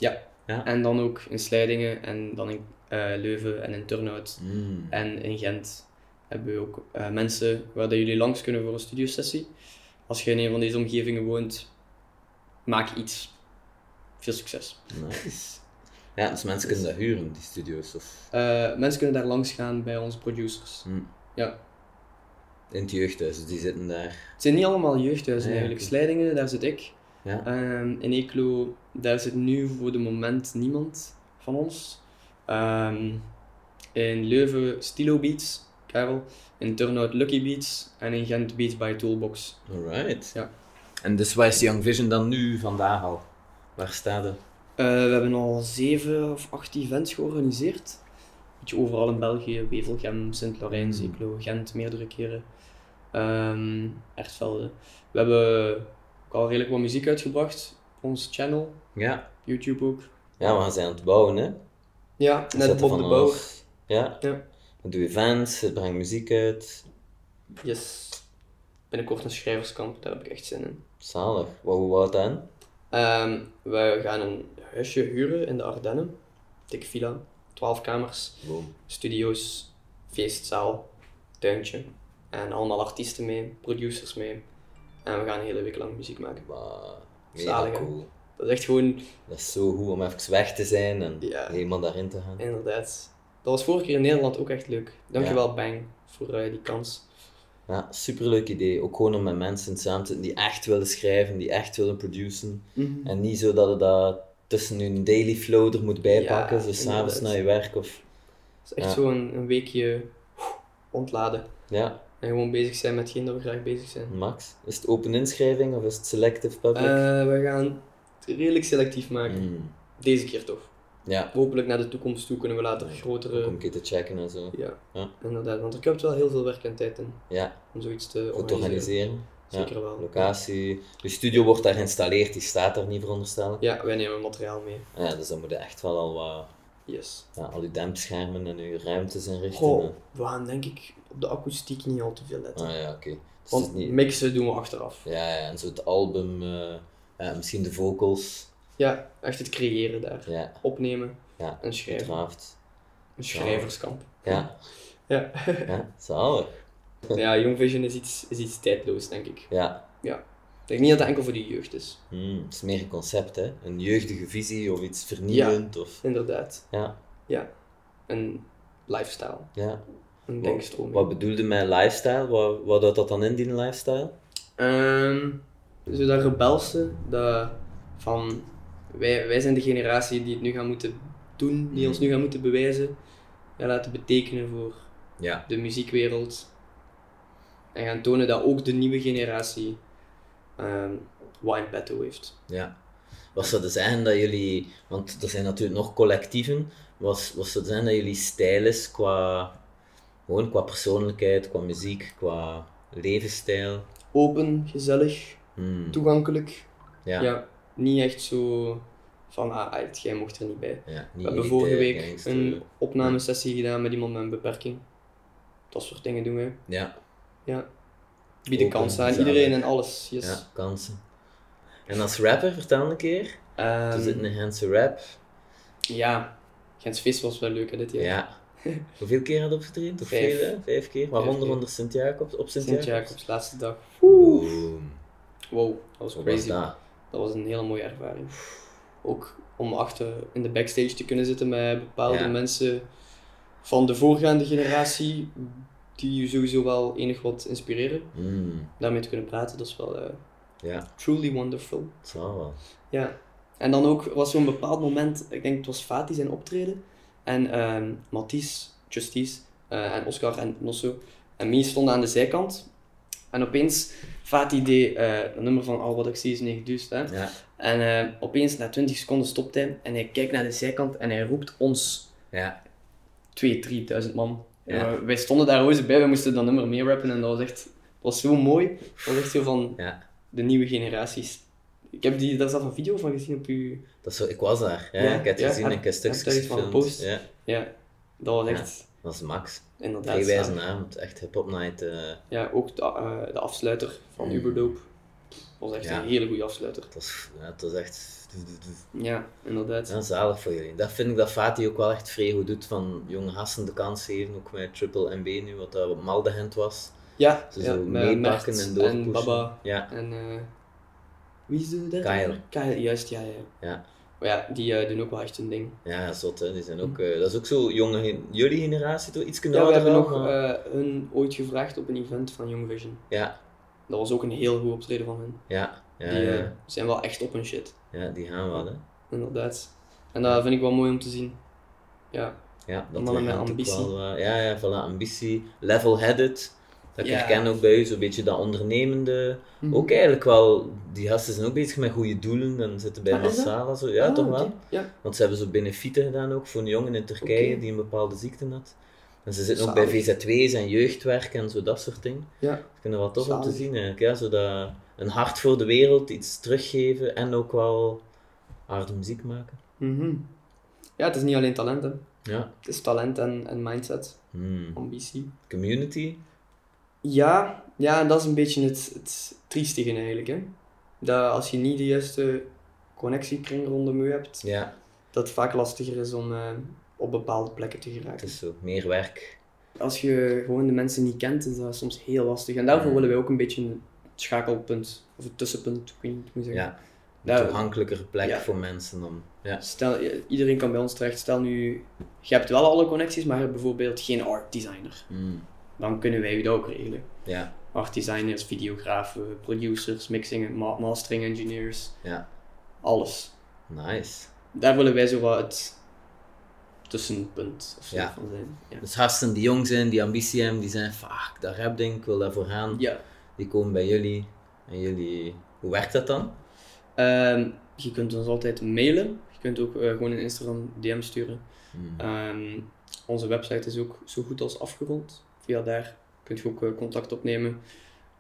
S2: En dan ook in Slijdingen en dan in eh, Leuven en in Turnhout.
S1: Hmm.
S2: En in Gent hebben we ook eh, mensen waar dat jullie langs kunnen voor een studiosessie. Als je in een van deze omgevingen woont, maak iets. Veel succes.
S1: Nice. Ja, dus mensen kunnen dat huren, die studio's. Of
S2: Eh, mensen kunnen daar langs gaan bij onze producers.
S1: Hmm. in het jeugdhuis, dus die zitten daar.
S2: Het zijn niet allemaal jeugdhuizen
S1: Ah, ja,
S2: eigenlijk.
S1: oké.
S2: Slijdingen, daar zit ik.
S1: Ja.
S2: Ehm, in Eeklo, daar zit nu voor de moment niemand van ons. Ehm, in Leuven, Stilo Beats, Karel. In Turnhout, Lucky Beats. En in Gent, Beats by Toolbox.
S1: Alright.
S2: Ja.
S1: En dus waar is Young Vision dan nu, vandaag al? Waar staat het?
S2: Eh, we hebben al zeven of acht events georganiseerd. Beetje overal in België, Wevelgem, Sint-Laurijn,
S1: Mm.
S2: Zeeklo, Gent meerdere keren. Ehm Ertvelde. We hebben ook al redelijk wat muziek uitgebracht. op Ons channel,
S1: Ja.
S2: YouTube ook.
S1: Ja, we zijn aan het bouwen, hè?
S2: Ja, net
S1: Zetten
S2: Bob de
S1: van
S2: Bouwer.
S1: alles. Ja.
S2: Ja.
S1: We doen events, het brengt muziek uit.
S2: Yes. Binnenkort een schrijverskamp, daar heb ik echt zin in.
S1: Zalig. Wat, hoe houdt dat in?
S2: Ehm, we gaan een huisje huren in de Ardennen. Dikke villa, 12 kamers.
S1: Boom.
S2: studio's, feestzaal, tuintje. En allemaal artiesten mee, producers mee. En we gaan een hele week lang muziek maken.
S1: Wow. Mega
S2: Zalig, hè?
S1: cool.
S2: Dat is echt gewoon,
S1: Dat is zo goed om even weg te zijn en
S2: Ja.
S1: helemaal daarin te gaan.
S2: inderdaad. Dat was vorige keer in Nederland ook echt leuk. Dankjewel, Bang, voor eh, die kans.
S1: Ja, superleuk idee. Ook gewoon om met mensen samen te zitten die echt willen schrijven, die echt willen produceren.
S2: Mhm.
S1: En niet zo dat je dat tussen hun daily flow er moet bijpakken,
S2: Ja,
S1: zo s'avonds
S2: inderdaad.
S1: na je werk of...
S2: Het is echt
S1: Ja.
S2: zo'n een weekje ontladen.
S1: Ja,
S2: En gewoon bezig zijn met hetgeen dat we graag bezig zijn.
S1: Max. Is het open inschrijving of is het selective public?
S2: Eh, we gaan het redelijk selectief maken.
S1: Mm.
S2: Deze keer toch.
S1: Ja,
S2: Hopelijk naar de toekomst toe kunnen we later
S1: ook om
S2: grotere...
S1: een keer te checken en zo.
S2: Ja,
S1: Ja.
S2: inderdaad. Want er komt wel heel veel werk en tijd in
S1: Ja,
S2: om zoiets te
S1: goed organiseren. Ja,
S2: Zeker wel.
S1: Locatie. Je studio wordt daar geïnstalleerd, die staat daar niet veronderstellen.
S2: Ja, wij nemen materiaal mee.
S1: Ja, dus dan moet je echt wel al wat...
S2: Yes.
S1: Ja, al je dempschermen en je ruimtes inrichten.
S2: Goh, we gaan denk ik op de akoestiek niet al te veel letten.
S1: Ah ja, oké. Dus het
S2: Want
S1: is niet...
S2: mixen doen we achteraf.
S1: Ja, ja, en zo het album, eh, ja, misschien de vocals,
S2: Ja, echt het creëren daar.
S1: ja,
S2: Opnemen
S1: Ja,
S2: en schrijven.
S1: draft.
S2: Een schrijverskamp.
S1: Ja,
S2: Ja.
S1: ja, zalig.
S2: Ja, Young Vision is iets, is iets tijdloos, denk ik.
S1: Ja.
S2: Ik denk niet dat het enkel voor de jeugd is.
S1: Hmm, het is meer een concept, hè? Een jeugdige visie of iets vernieuwend. Of...
S2: Inderdaad.
S1: Ja.
S2: Ja. Een lifestyle.
S1: Ja.
S2: Een
S1: Wat-
S2: denkstroom.
S1: Wat bedoelde mijn lifestyle? Wat, wat houdt dat dan in, die lifestyle?
S2: Ehm, zo dat rebelse, dat van wij, wij zijn de generatie die het nu gaan moeten doen, die ons nu gaan moeten bewijzen, gaan laten betekenen voor
S1: Ja.
S2: de muziekwereld. En gaan tonen dat ook de nieuwe generatie ehm wat in petto heeft.
S1: ja. Wat zou er zijn dat jullie, want er zijn natuurlijk nog collectieven, wat, wat zou er zijn dat jullie stijl is qua, gewoon qua persoonlijkheid, qua muziek, qua levensstijl?
S2: Open, gezellig,
S1: Hmm,
S2: toegankelijk.
S1: Ja.
S2: Ja.
S1: ja.
S2: niet echt zo van, ah, uit, jij mocht er niet bij.
S1: niet
S2: We hebben
S1: elite,
S2: vorige week
S1: gangster.
S2: een opnamesessie gedaan met iemand met een beperking. Dat soort dingen doen wij.
S1: Ja.
S2: Ja. Bieden
S1: Open,
S2: kansen aan
S1: gezellig.
S2: iedereen en alles. Yes.
S1: Ja, kansen. En als rapper, vertel een keer.
S2: Ehm,
S1: Er zit een Gentse rap.
S2: ja. Gens Vis was wel leuk hè, dit jaar.
S1: Ja. Hoeveel keer had je opgetraind? Of
S2: Vijf.
S1: veel, hè? Vijf keer. Waaronder
S2: keer.
S1: onder Sint-Jacobs, op
S2: Sint
S1: Sint-Jacobs.
S2: Jacobs, laatste dag.
S1: Boom.
S2: Wow, dat was
S1: Hoe was
S2: crazy.
S1: dat?
S2: Dat was een hele mooie ervaring. Ook om achter in de backstage te kunnen zitten met bepaalde
S1: Ja.
S2: mensen van de voorgaande generatie, die je sowieso wel enig wat inspireren.
S1: Mm,
S2: Daarmee te kunnen praten, dat is wel eh,
S1: ja,
S2: truly wonderful.
S1: het zal wel.
S2: Ja. En dan ook was zo'n bepaald moment, ik denk het was Fati zijn optreden, en ehm Mathies, Justice, eh, en Oscar en Nosso en Mie stonden aan de zijkant. En opeens, Fati deed eh een nummer van Al wat ik zie is 9000, hè.
S1: Ja,
S2: En eh, opeens, na 20 seconden, stopt hij en hij kijkt naar de zijkant en hij roept ons
S1: ja.
S2: 2.000, 3.000 man.
S1: Ja.
S2: Eh, wij stonden daar roze bij, we moesten dat nummer mee rappen en dat was echt dat was zo mooi. Dat was echt zo van
S1: Ja.
S2: de nieuwe generaties. Ik heb die, daar zelf een video van gezien op u.
S1: Dat is zo, ik was daar. Ja,
S2: Ja,
S1: ik heb het
S2: ja,
S1: gezien,
S2: heb-
S1: ik heb stukjes
S2: heb daar iets van
S1: gefilmd.
S2: gepost?
S1: Ja,
S2: Ja, dat was
S1: Ja.
S2: echt
S1: dat is Max.
S2: inderdaad.
S1: Drie wijze
S2: zalig.
S1: avond, echt hip-hop night. eh,
S2: Ja, ook de, eh, de afsluiter van
S1: Mm.
S2: Uberdoop. Dat was echt
S1: Ja.
S2: een hele goede afsluiter.
S1: het, was, ja, het was echt
S2: Ja, inderdaad.
S1: ja, zalig voor jullie. Dat vind ik dat Fatih ook wel echt vrij goed doet van jonge hassen de kans geven, ook met Triple MB nu, wat daar op Maldehend was.
S2: Ja,
S1: Ze
S2: ja
S1: zo
S2: met
S1: meepakken
S2: Mert
S1: en doorpushen.
S2: Baba.
S1: Ja,
S2: En eh, wie is de derde?
S1: Kyle.
S2: Kyle, juist, ja, ja.
S1: Ja.
S2: Maar ja, die eh, doen ook wel echt hun ding.
S1: ja zot hè. Die zijn ook, eh, dat is ook zo jonge, gen- jullie generatie toch? Iets
S2: ja, we
S1: ouder
S2: hebben
S1: wel,
S2: ook
S1: maar-
S2: eh, hun ooit gevraagd op een event van Young Vision.
S1: Ja,
S2: Dat was ook een heel goed optreden van hen.
S1: ja, ja,
S2: die eh,
S1: ja,
S2: zijn wel echt op hun shit,
S1: ja, die gaan wel hè.
S2: inderdaad. En dat vind ik wel mooi om te zien. Ja,
S1: Ja, dat
S2: Mannen met
S1: ligt natuurlijk
S2: ambitie.
S1: wel, eh, ja, ja, voilà, ambitie, level-headed. Dat ik
S2: Ja. Mhm.
S1: herken ook bij u, zo'n beetje dat ondernemende. Ook eigenlijk wel, die gasten zijn ook bezig met goede doelen en zitten bij
S2: Ah, is dat?
S1: Massala. Zo. Ja,
S2: Ah,
S1: toch wel?
S2: oké. Ja.
S1: Want ze hebben zo benefieten gedaan ook voor een jongen in Turkije
S2: Oké.
S1: die een bepaalde ziekte had. En ze zitten ook bij
S2: Zalig.
S1: VZW's en jeugdwerk en zo dat soort dingen.
S2: Ja.
S1: Ik vind dat wel tof om te
S2: Zalig.
S1: zien eigenlijk. Ja, zo dat een hart voor de wereld, iets teruggeven en ook wel harde muziek maken.
S2: Mhm. Ja, het is niet alleen talent, hè.
S1: Ja.
S2: Het is talent en, en mindset,
S1: Hmm.
S2: ambitie.
S1: Community.
S2: Ja, ja, en dat is een beetje het, het triestige eigenlijk, hè. Dat als je niet de juiste connectiekring rondom je hebt,
S1: Ja,
S2: dat het vaak lastiger is om eh, op bepaalde plekken te
S1: het
S2: geraken.
S1: is zo. Meer werk.
S2: Als je gewoon de mensen niet kent, is dat soms heel lastig. En daarvoor
S1: Mm.
S2: willen wij ook een beetje een schakelpunt, of een tussenpunt, ik weet niet hoe moet zeggen.
S1: Ja, een
S2: Nou,
S1: toegankelijkere plek
S2: ja.
S1: voor mensen om. Ja.
S2: Stel, i- iedereen kan bij ons terecht. Stel nu, je hebt wel alle connecties, maar je hebt bijvoorbeeld geen art designer.
S1: Mm.
S2: Dan kunnen wij u dat ook regelen.
S1: Ja,
S2: Art designers, videografen, producers, mixing, ma- mastering engineers,
S1: ja.
S2: alles.
S1: Nice.
S2: Daar willen wij zo wat het tussenpunt of zo
S1: Ja.
S2: van zijn. Ja.
S1: Dus gasten die jong zijn, die ambitie hebben, die zijn vaak dat rap ding, ik wil daarvoor gaan.
S2: ja.
S1: Die komen bij jullie. En jullie... Hoe werkt dat dan?
S2: Ehm, je kunt ons altijd mailen. Je kunt ook eh, gewoon een Instagram DM sturen.
S1: Mm.
S2: Ehm, onze website is ook zo goed als afgerond. Via daar kun je ook eh, contact opnemen.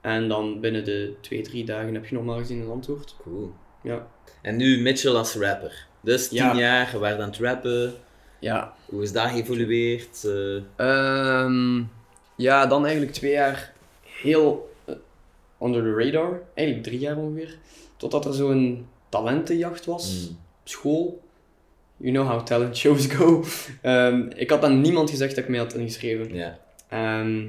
S2: En dan binnen de twee, drie dagen heb je normaal gezien een antwoord.
S1: Cool.
S2: Ja.
S1: En nu Mitchell als rapper. Dus tien
S2: Ja.
S1: jaar, je werd aan het rappen.
S2: Ja.
S1: Hoe is dat geëvolueerd? Eh,
S2: Ehm, ja, dan eigenlijk twee jaar heel onder de radar. Eigenlijk drie jaar ongeveer. Totdat er zo'n talentenjacht was.
S1: mm.
S2: op school. You know how talent shows go. Ehm, ik had aan niemand gezegd dat ik mij had ingeschreven.
S1: Ja.
S2: Ehm,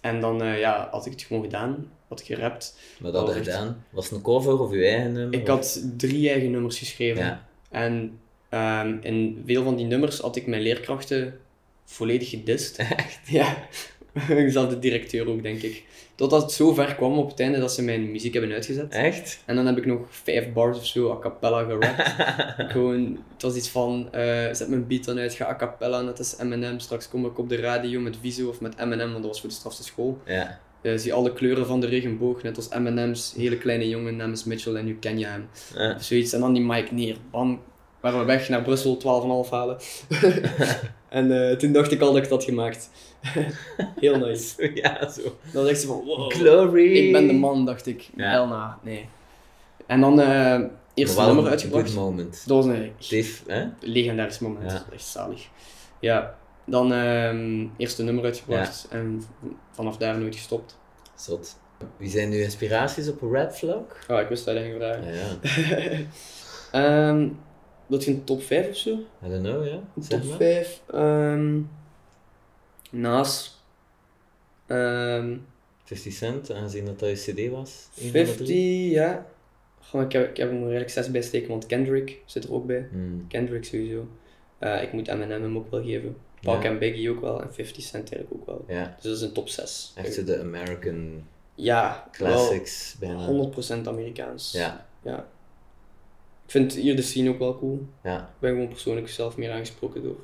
S2: En dan eh, ja, had ik het gewoon gedaan, had ik gerapt.
S1: Maar dat
S2: Oh,
S1: had je
S2: echt?
S1: gedaan. Was het een cover of je eigen nummer?
S2: Ik had drie eigen nummers geschreven.
S1: Oh. Ja.
S2: En ehm, in veel van die nummers had ik mijn leerkrachten volledig gedist. Echt? Ja. Zelf de directeur ook, denk ik. Totdat het zo ver kwam op het einde dat ze mijn muziek hebben uitgezet.
S1: Echt?
S2: En dan heb ik nog vijf bars of zo a cappella gerapt. Gewoon, het was iets van, eh, zet mijn beat dan uit, ga a cappella, net als M&M. Straks kom ik op de radio met Viso of met M&M, want dat was voor de strafste school.
S1: Ja.
S2: Eh, zie alle kleuren van de regenboog, net als M&M's. Hele kleine jongen, naam is Mitchell en nu ken je hem.
S1: Ja.
S2: Of zoiets. En dan die mic neer. Bam. Waren we weg naar Brussel, 12,5 halen. en eh, toen dacht ik al dat ik dat had gemaakt. Heel nice.
S1: Zo, Ja, zo.
S2: Dan dacht ze van, wow.
S1: Glory!
S2: Ik ben de man, dacht ik.
S1: Ja.
S2: Elna, nee. En dan eh eerste
S1: Maar wel
S2: nummer
S1: een
S2: uitgebracht.
S1: Good moment.
S2: Dat was een
S1: Tief, hè?
S2: legendarisch moment.
S1: Ja.
S2: Echt zalig. Ja. Dan ehm eerste nummer uitgebracht en v- vanaf daar nooit gestopt.
S1: Zot. Wie zijn nu inspiraties op Red Flag?
S2: Ah, ik wist dat je ging vragen.
S1: Ja, ja.
S2: Ehm, dat je een top 5 of zo?
S1: I don't know, ja. Zeg
S2: Top
S1: maar.
S2: 5. ehm Naas. ehm
S1: 50 Cent, aangezien dat dat je cd was. Een van de
S2: 50,
S1: drie.
S2: ja. Goh, ik, heb, ik heb hem er eigenlijk 6 bij steken, want Kendrick zit er ook bij.
S1: Hmm.
S2: Kendrick sowieso. Eh, ik moet Eminem hem ook wel geven. Park
S1: Ja.
S2: en Biggie ook wel. En 50 Cent eigenlijk ook wel.
S1: Ja,
S2: Dus dat is een top 6.
S1: echt zo de American
S2: Ja,
S1: classics
S2: wel
S1: bijna.
S2: 100% Amerikaans.
S1: Ja,
S2: Ik vind hier de scene ook wel cool.
S1: ja.
S2: Ik ben gewoon persoonlijk zelf meer aangesproken door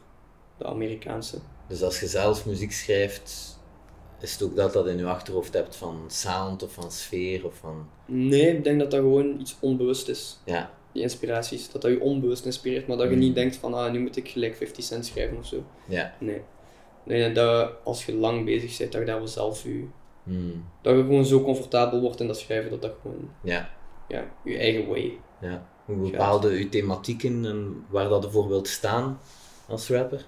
S2: de Amerikaanse.
S1: Dus als je zelf muziek schrijft, is het ook dat dat in je achterhoofd hebt van sound of van sfeer of van...
S2: Nee, ik denk dat dat gewoon iets onbewust is.
S1: Ja,
S2: Die inspiraties. Dat dat je onbewust inspireert, maar dat je
S1: Mm.
S2: niet denkt van ah, nu moet ik gelijk 50 cent schrijven of zo.
S1: ja.
S2: Nee. Nee, dat als je lang bezig bent, dat je daar wel zelf je...
S1: Hmm.
S2: Dat je gewoon zo comfortabel wordt in dat schrijven, dat dat gewoon...
S1: Ja,
S2: Ja, je eigen way.
S1: ja. Hoe bepaalde je thematieken en waar dat ervoor wilt staan als rapper?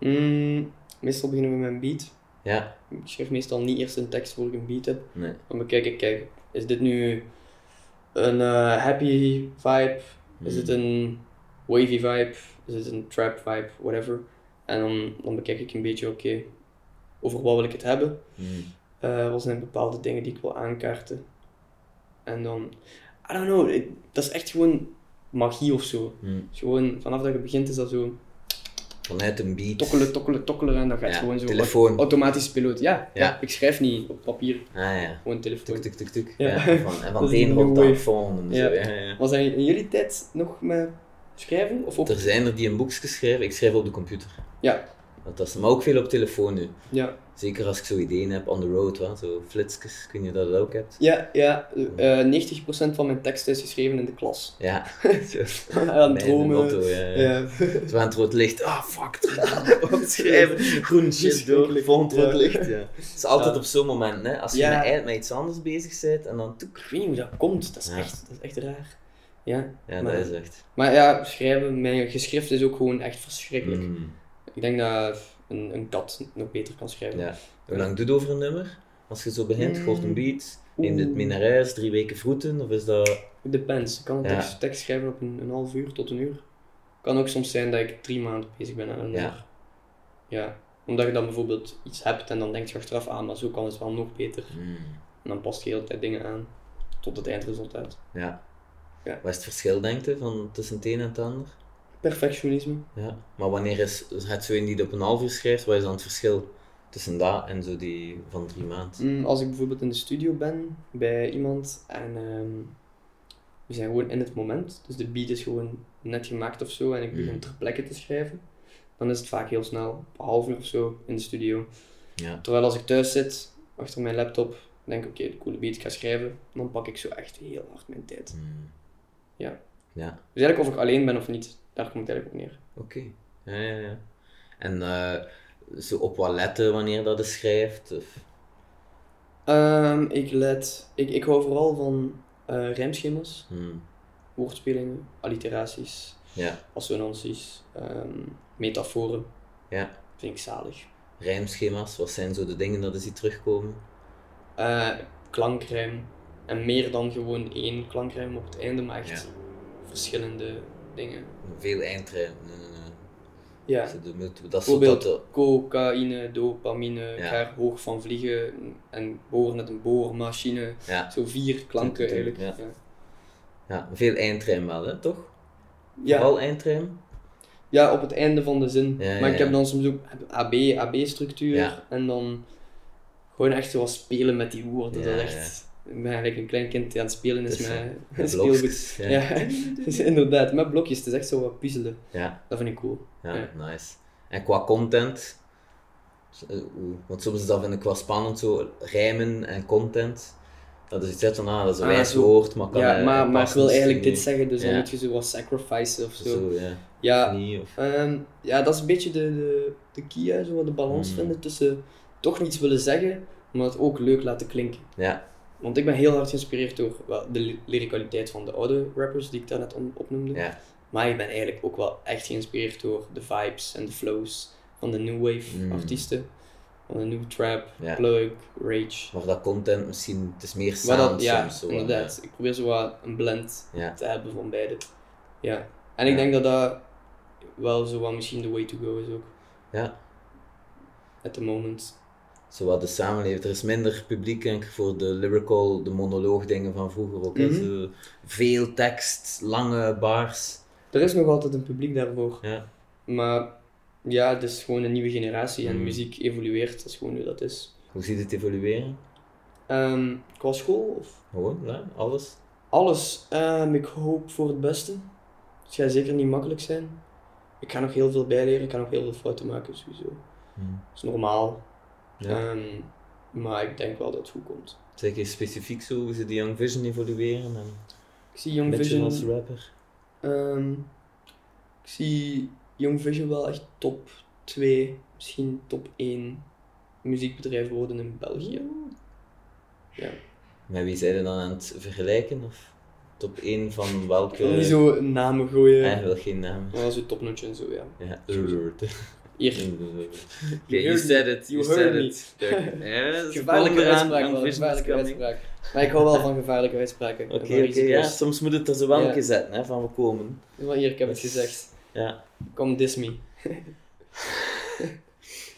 S2: Mm, meestal beginnen we met een beat.
S1: Ja,
S2: Ik schrijf meestal niet eerst een tekst voor ik een beat heb.
S1: nee.
S2: Dan bekijk ik, kijk, is dit nu een eh, happy vibe? Is
S1: Hmm.
S2: het een wavy vibe? Is het een trap vibe? Whatever. En dan, dan bekijk ik een beetje, oké, over wat wil ik het hebben?
S1: Hmm.
S2: Eh, wat zijn bepaalde dingen die ik wil aankaarten? En dan, I don't know, ik- dat is echt gewoon magie of zo.
S1: Hmm.
S2: Het is gewoon, vanaf dat je begint is dat zo
S1: Vanuit een beat.
S2: tokkelen, tokkelen, tokkelen en dan gaat het
S1: Ja,
S2: gewoon zo
S1: telefoon.
S2: automatisch piloot. Ja, ja.
S1: Ja.
S2: ik schrijf niet op papier,
S1: Ah ja.
S2: gewoon telefoon.
S1: Tuk, tuk, tuk, tuk.
S2: Ja.
S1: Ja. en van, en van
S2: Dat
S1: het
S2: is
S1: een
S2: een
S1: rond
S2: new
S1: naar het
S2: wave.
S1: volgende.
S2: Ja.
S1: Zo, ja, ja.
S2: Was hij in jullie tijd nog met schrijven? Of ook?
S1: Er zijn er die een boekje schrijven. Ik schrijf op de computer.
S2: Ja.
S1: Dat is, maar ook veel op telefoon nu.
S2: Ja,
S1: Zeker als ik zo ideeën heb on the road, wat, zo flitsjes. Ik weet niet of je dat ook hebt.
S2: ja, ja. eh, 90% van mijn tekst is geschreven in de klas.
S1: Ja. Zo.
S2: Aan
S1: Bij de
S2: dromen.
S1: motto, eh. ja, ja.
S2: Ja.
S1: Zo aan het rood licht. Ah, fuck. het gaat op het Schrijven. Groen shit door.
S2: Verschrikkelijk.
S1: Volgend rood
S2: Ja.
S1: licht. Ja. Het is altijd
S2: Ja.
S1: op zo'n moment, hè. Als je
S2: Ja.
S1: met, eigenlijk met iets anders bezig bent en dan toek.
S2: Ik weet niet hoe dat komt, dat is,
S1: Ja.
S2: echt, dat is echt raar. Ja.
S1: Ja,
S2: Maar-
S1: dat is echt.
S2: Maar ja, schrijven, mijn geschrift is ook gewoon echt verschrikkelijk.
S1: Mm.
S2: Ik denk dat een, een kat nog beter kan schrijven.
S1: Ja. Hoe lang doet het over een nummer? Als je zo begint,
S2: Mm.
S1: hoort een beat, neemt het
S2: Oeh.
S1: mee naar huis, drie weken vroeten, of is dat...
S2: Depends. Ik kan een
S1: Ja.
S2: tekst, tekst schrijven op een, een half uur tot een uur. Kan ook soms zijn dat ik drie maanden bezig ben aan een
S1: Ja.
S2: nummer. Ja. Omdat je dan bijvoorbeeld iets hebt en dan denk je achteraf aan, maar zo kan het wel nog beter.
S1: Mm.
S2: En dan past je de hele tijd dingen aan tot het eindresultaat.
S1: Ja.
S2: Ja.
S1: Wat is het verschil, denk je, van tussen het een en het ander?
S2: Perfectionisme.
S1: Ja. Maar wanneer is het zo in die het op een half uur schrijft, wat is dan het verschil tussen dat en zo die van drie maanden?
S2: Mm, als ik bijvoorbeeld in de studio ben bij iemand en ehm, we zijn gewoon in het moment, dus de beat is gewoon net gemaakt of zo en ik begin
S1: Mm.
S2: ter plekke te schrijven, dan is het vaak heel snel, een half uur of zo in de studio.
S1: Ja.
S2: Terwijl als ik thuis zit, achter mijn laptop, denk ik oké, de coole beat, ik ga schrijven, dan pak ik zo echt heel hard mijn tijd.
S1: Mm.
S2: Ja.
S1: Ja,
S2: Dus eigenlijk of ik alleen ben of niet, daar komt het eigenlijk op neer.
S1: oké. Ja, ja, ja. En eh, zo op wat letten wanneer dat je schrijft? Of...
S2: Ehm, ik let, ik, ik hou vooral van eh rijmschema's,
S1: Mm.
S2: woordspelingen, alliteraties.
S1: Ja.
S2: assonanties, ehm, metaforen.
S1: Ja.
S2: Vind ik zalig.
S1: Rijmschema's, wat zijn zo de dingen dat je ziet terugkomen?
S2: Eh, klankrijm. En meer dan gewoon één klankrijm op het einde, maar echt verschillende dingen.
S1: Veel eindrijmen. Nee, nee, nee.
S2: Ja.
S1: Dus dat moet- dat is zo
S2: Bijvoorbeeld
S1: dat de-
S2: cocaïne, dopamine, ik
S1: Ja.
S2: ga er hoog van vliegen en boren met een boormachine.
S1: ja.
S2: Zo vier
S1: Tum,
S2: klanken
S1: tum, tum,
S2: eigenlijk. Ja. Ja.
S1: ja, veel eindrijm wel, hè, toch?
S2: Ja.
S1: Vooral eindrijm.
S2: op het einde van de zin.
S1: Ja,
S2: maar ik
S1: ja.
S2: heb dan soms ook AB, AB-structuur
S1: Ja.
S2: en dan gewoon echt zoals spelen met die woorden.
S1: Ja,
S2: dat is echt, ik ben eigenlijk een klein kind die aan het spelen is
S1: Dus,
S2: met
S1: Ja,
S2: een speelgoed.
S1: blokjes.
S2: Ja,
S1: Ja. Ja.
S2: dus inderdaad, met blokjes. Het is echt zo wat puzzelen.
S1: Ja.
S2: Dat vind ik cool. Ja.
S1: nice. En qua content, eh, hoe- want soms is dat vind ik wel spannend, zo rijmen en content. Dat is iets uit van, ah, dat is een
S2: Ah,
S1: wijs
S2: zo.
S1: woord, maar kan
S2: Ja,
S1: eh,
S2: maar, maar ik
S1: past
S2: wil
S1: misschien
S2: eigenlijk dit
S1: niet.
S2: zeggen, dus dan
S1: Ja.
S2: moet je zo wat sacrifice of zo.
S1: Zo, ja.
S2: Ja,
S1: Niet, of...
S2: Ehm, ja, dat is een beetje de, de, de key, hè, zo wat de balans
S1: Mm.
S2: vinden tussen toch niets willen zeggen, maar het ook leuk laten klinken.
S1: Ja,
S2: Want ik ben heel hard geïnspireerd door wel, de ly- lyricaliteit van de oude rappers die ik daarnet on- opnoemde.
S1: Ja.
S2: Maar ik ben eigenlijk ook wel echt geïnspireerd door de vibes en de flows van de new wave
S1: Mm.
S2: artiesten. Van de new trap,
S1: Ja.
S2: plug, rage.
S1: maar dat content misschien, het is meer
S2: Maar
S1: sound
S2: dat, ja,
S1: soms. Zo,
S2: inderdaad. Ik probeer zo wat een blend
S1: Ja.
S2: te hebben van beide. Ja. En ik
S1: Ja.
S2: denk dat dat wel zo wat misschien de way to go is ook.
S1: Ja.
S2: At the moment.
S1: Zowat de samenleving. Er is minder publiek denk ik, voor de lyrical, de monoloog dingen van vroeger ook. hè.
S2: Mhm.
S1: Zo veel tekst, lange bars.
S2: Er is nog altijd een publiek daarvoor.
S1: Ja.
S2: Maar ja, het is gewoon een nieuwe generatie en
S1: Mm.
S2: muziek evolueert. Dat is gewoon hoe dat is.
S1: Hoe ziet het evolueren?
S2: Ehm, qua school of
S1: Gewoon, ja, alles.
S2: alles. Ehm, ik hoop voor het beste. Het gaat zeker niet makkelijk zijn. Ik ga nog heel veel bijleren. Ik ga nog heel veel fouten maken sowieso. Dat is normaal.
S1: Hmm. Ja.
S2: Ehm, maar ik denk wel dat het goed komt.
S1: Zeg je specifiek zo hoe ze de Young Vision evolueren en
S2: Ik zie Young
S1: Mitchell
S2: Vision.
S1: als rapper.
S2: ehm, ik zie Young Vision wel echt top 2, misschien top 1 muziekbedrijf worden in België. Ja.
S1: Met wie zijn ze dan aan het vergelijken? Of top 1 van welke?
S2: Ik wil niet zo namen gooien.
S1: Hij wil geen naam.
S2: Maar wel zo topnotje en zo, ja.
S1: Ja.
S2: Hier.
S1: Okay, you
S2: heard
S1: said
S2: me.
S1: it.
S2: You
S1: You,
S2: heard
S1: said
S2: me.
S1: it. Dirk. Ja, dat is
S2: Gevaarlijke
S1: eraan,
S2: uitspraak
S1: Young
S2: wel,
S1: Vision is
S2: gevaarlijke
S1: coming.
S2: uitspraak. Maar ik hou wel van gevaarlijke uitspraken.
S1: Oké,
S2: Maar
S1: oké,
S2: iets
S1: ja.
S2: anders.
S1: Soms moet het er zo wel
S2: Ja.
S1: een keer zetten, hè, van we komen.
S2: Maar hier, ik heb het gezegd.
S1: Ja.
S2: Kom, diss me.
S1: Ja.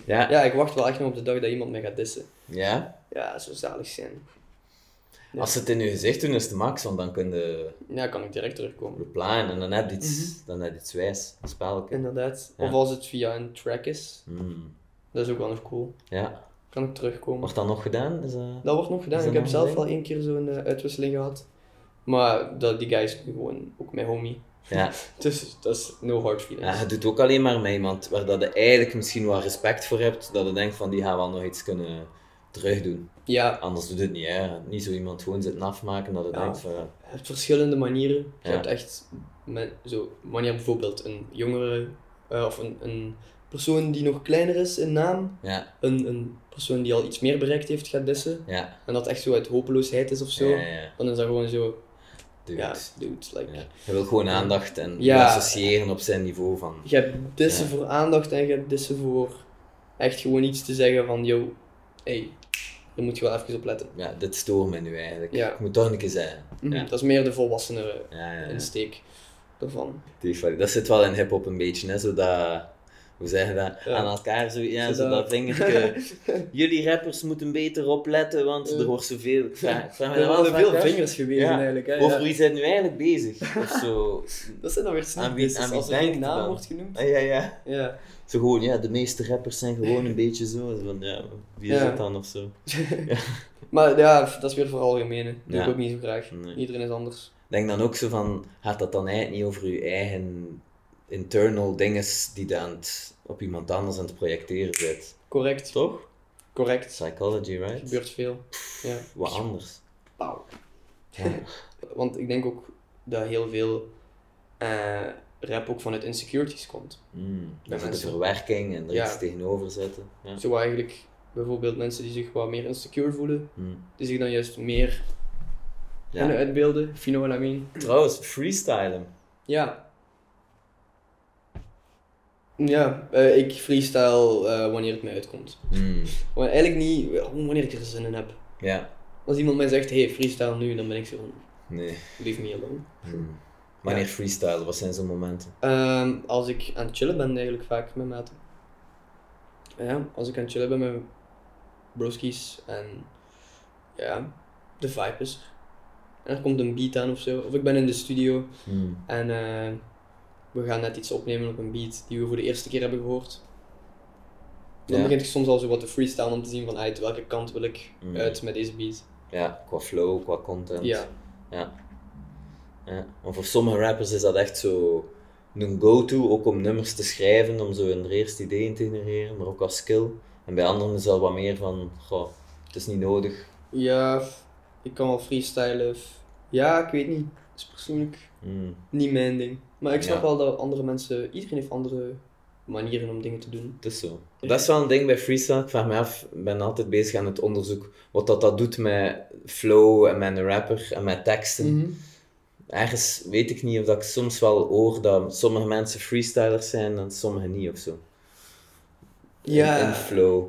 S1: ja.
S2: Ja, ik wacht wel echt nog op de dag dat iemand mij gaat dissen. Ja, zo zalig zijn. Ja.
S1: Als ze het in je gezicht doen, is het max, want dan kun je
S2: Ja, kan ik direct terugkomen.
S1: replyen en dan heb je iets,
S2: Mhm.
S1: dan heb je iets wijs, een spelletje.
S2: Inderdaad.
S1: Ja.
S2: Of als het via een track is.
S1: Hmm.
S2: Dat is ook wel nog cool.
S1: Ja.
S2: Kan ik terugkomen.
S1: Wordt dat nog gedaan? Is dat...
S2: Dat wordt nog gedaan.
S1: Is dat
S2: Ik heb
S1: nog
S2: zelf
S1: een ding?
S2: al één keer zo'n eh, uitwisseling gehad. Maar dat, die guy is nu gewoon ook mijn homie.
S1: Ja.
S2: Dus dat is no hard
S1: ja,
S2: feelings.
S1: je doet ook alleen maar met iemand waar dat je eigenlijk misschien wel respect voor hebt, dat je denkt van die gaan wel nog iets kunnen terugdoen.
S2: Ja,
S1: Anders doet het niet, hè. Niet zo iemand gewoon zitten afmaken dat je
S2: Ja.
S1: denkt van... ja,
S2: je hebt verschillende manieren. Je
S1: Ja.
S2: hebt echt men- zo, manier bijvoorbeeld een jongere eh, of een, een persoon die nog kleiner is in naam.
S1: Ja,
S2: Een, een persoon die al iets meer bereikt heeft gaat dissen.
S1: ja,
S2: En dat echt zo uit hopeloosheid is of zo.
S1: ja, ja.
S2: Dan is dat gewoon zo,
S1: Dude.
S2: ja, dude, like...
S1: Ja. Hij wil gewoon aandacht en
S2: Ja.
S1: associëren op zijn niveau van...
S2: Je hebt dissen
S1: Ja.
S2: voor aandacht en je hebt dissen voor echt gewoon iets te zeggen van, yo, hey, daar moet je wel even op letten.
S1: Ja, dit stoort mij nu eigenlijk.
S2: Ja.
S1: Ik moet toch een keer zeggen. Ja.
S2: Dat is meer de volwassenen
S1: Ja, ja, ja.
S2: insteek daarvan.
S1: Die van- Dat zit wel in hip-hop een beetje, hè? Zodat, hoe zeg je dat?
S2: Ja.
S1: Aan elkaar zo, ja,
S2: Zodat-
S1: zo dat vingertje. Jullie rappers moeten beter opletten, want er wordt zoveel. Ik vraag, ik vraag me
S2: Er
S1: dat wel
S2: worden
S1: vaak
S2: veel
S1: af.
S2: vingers gewezen
S1: Ja.
S2: eigenlijk. Hè?
S1: Over
S2: ja.
S1: wie zijn we nu eigenlijk bezig? Of zo.
S2: Dat zijn dan weer
S1: Aan wie-
S2: sneakers,
S1: aan
S2: dus
S1: wie
S2: als er geen
S1: denkt het
S2: naam
S1: dan?
S2: wordt genoemd.
S1: Ah, ja, ja.
S2: Ja.
S1: Zo gewoon, ja, de meeste rappers zijn gewoon een beetje zo. Zo Van, ja, wie is
S2: Ja.
S1: het dan of zo?
S2: Maar ja, dat is weer voor algemene. Doe
S1: Ja.
S2: ik ook niet zo graag.
S1: Nee.
S2: Iedereen is anders.
S1: Denk dan ook zo van, gaat dat dan eigenlijk niet over je eigen internal dinges die dan op iemand anders aan het projecteren zit?
S2: Correct.
S1: Toch?
S2: Correct.
S1: Psychology,
S2: Er
S1: right?
S2: gebeurt veel. Ja.
S1: Wat anders.
S2: Pauw.
S1: Ja.
S2: Want ik denk ook dat heel veel eh, rap ook vanuit insecurities komt.
S1: Mm,
S2: Ja,
S1: dat is de
S2: mensen-
S1: verwerking en er
S2: Ja.
S1: iets tegenover zetten. Ja.
S2: Zo eigenlijk bijvoorbeeld mensen die zich wat meer insecure voelen,
S1: Mm.
S2: die zich dan juist meer
S1: Ja.
S2: kunnen uitbeelden. If you know what I mean.
S1: Trouwens, freestylen.
S2: Ja. Ja, eh, ik freestyle eh, wanneer het mij uitkomt.
S1: Mm,
S2: Maar eigenlijk niet eh, wanneer ik er zin in heb.
S1: Ja,
S2: Als iemand mij zegt, hey, freestyle nu, dan ben ik zo van,
S1: nee.
S2: leave me alone.
S1: Mm. Wanneer freestylen, wat zijn zo'n momenten?
S2: Ehm, als ik aan het chillen ben, eigenlijk vaak met maten. Ja, als ik aan het chillen ben met broskies en ja, de vibe is. er. En er komt een beat aan of zo. Of ik ben in de studio
S1: Hmm.
S2: en eh, we gaan net iets opnemen op een beat die we voor de eerste keer hebben gehoord. Dan
S1: Ja.
S2: begint ik soms al zo wat te freestylen om te zien van uit welke kant wil ik
S1: Mm.
S2: uit met deze beat.
S1: Ja, qua flow, qua content.
S2: Ja,
S1: Ja. Maar voor sommige rappers is dat echt zo een go-to, ook om nummers te schrijven, om zo hun eerste ideeën te genereren, maar ook als skill. En bij anderen is dat wat meer van, goh, het is niet nodig.
S2: ja ik kan wel freestylen. of- Ja, ik weet niet. Dat is persoonlijk
S1: Hmm.
S2: niet mijn ding. Maar ik snap
S1: Ja.
S2: wel dat andere mensen, iedereen heeft andere manieren om dingen te doen.
S1: Het is zo. Dat is wel een ding bij freestyle. Ik vraag me af, ik ben altijd bezig aan het onderzoek wat dat, dat doet met flow en met een rapper en met teksten.
S2: Mhm.
S1: Ergens weet ik niet of dat ik soms wel hoor dat sommige mensen freestylers zijn en sommigen niet of zo. In-
S2: Ja.
S1: In, flow.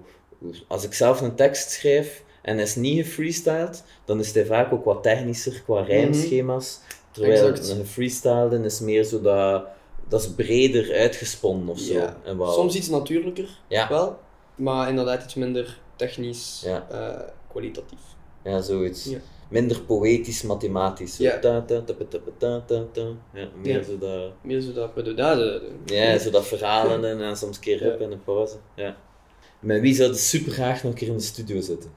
S1: Als ik zelf een tekst schrijf en is niet gefreestyled, dan is hij vaak ook wat technischer qua rijmschema's. Terwijl
S2: Mhm. Exact.
S1: een gefreestylede is meer zo dat, dat is breder uitgesponnen of zo.
S2: Ja.
S1: En wat-
S2: Soms iets natuurlijker,
S1: Ja.
S2: wel, maar inderdaad iets minder technisch,
S1: Ja.
S2: eh, kwalitatief.
S1: Ja, zoiets.
S2: Ja.
S1: Minder poëtisch, mathematisch. Zo
S2: Ja.
S1: ta, ta, ta, pa, ta, pa, ta, ta, ta. Ja, meer
S2: Ja.
S1: zo dat...
S2: Meer zo dat we de daden
S1: Ja, zo dat verhalen en dan soms een keer
S2: Ja.
S1: up en een pauze. Ja. Met wie zou je super graag nog een keer in de studio zitten?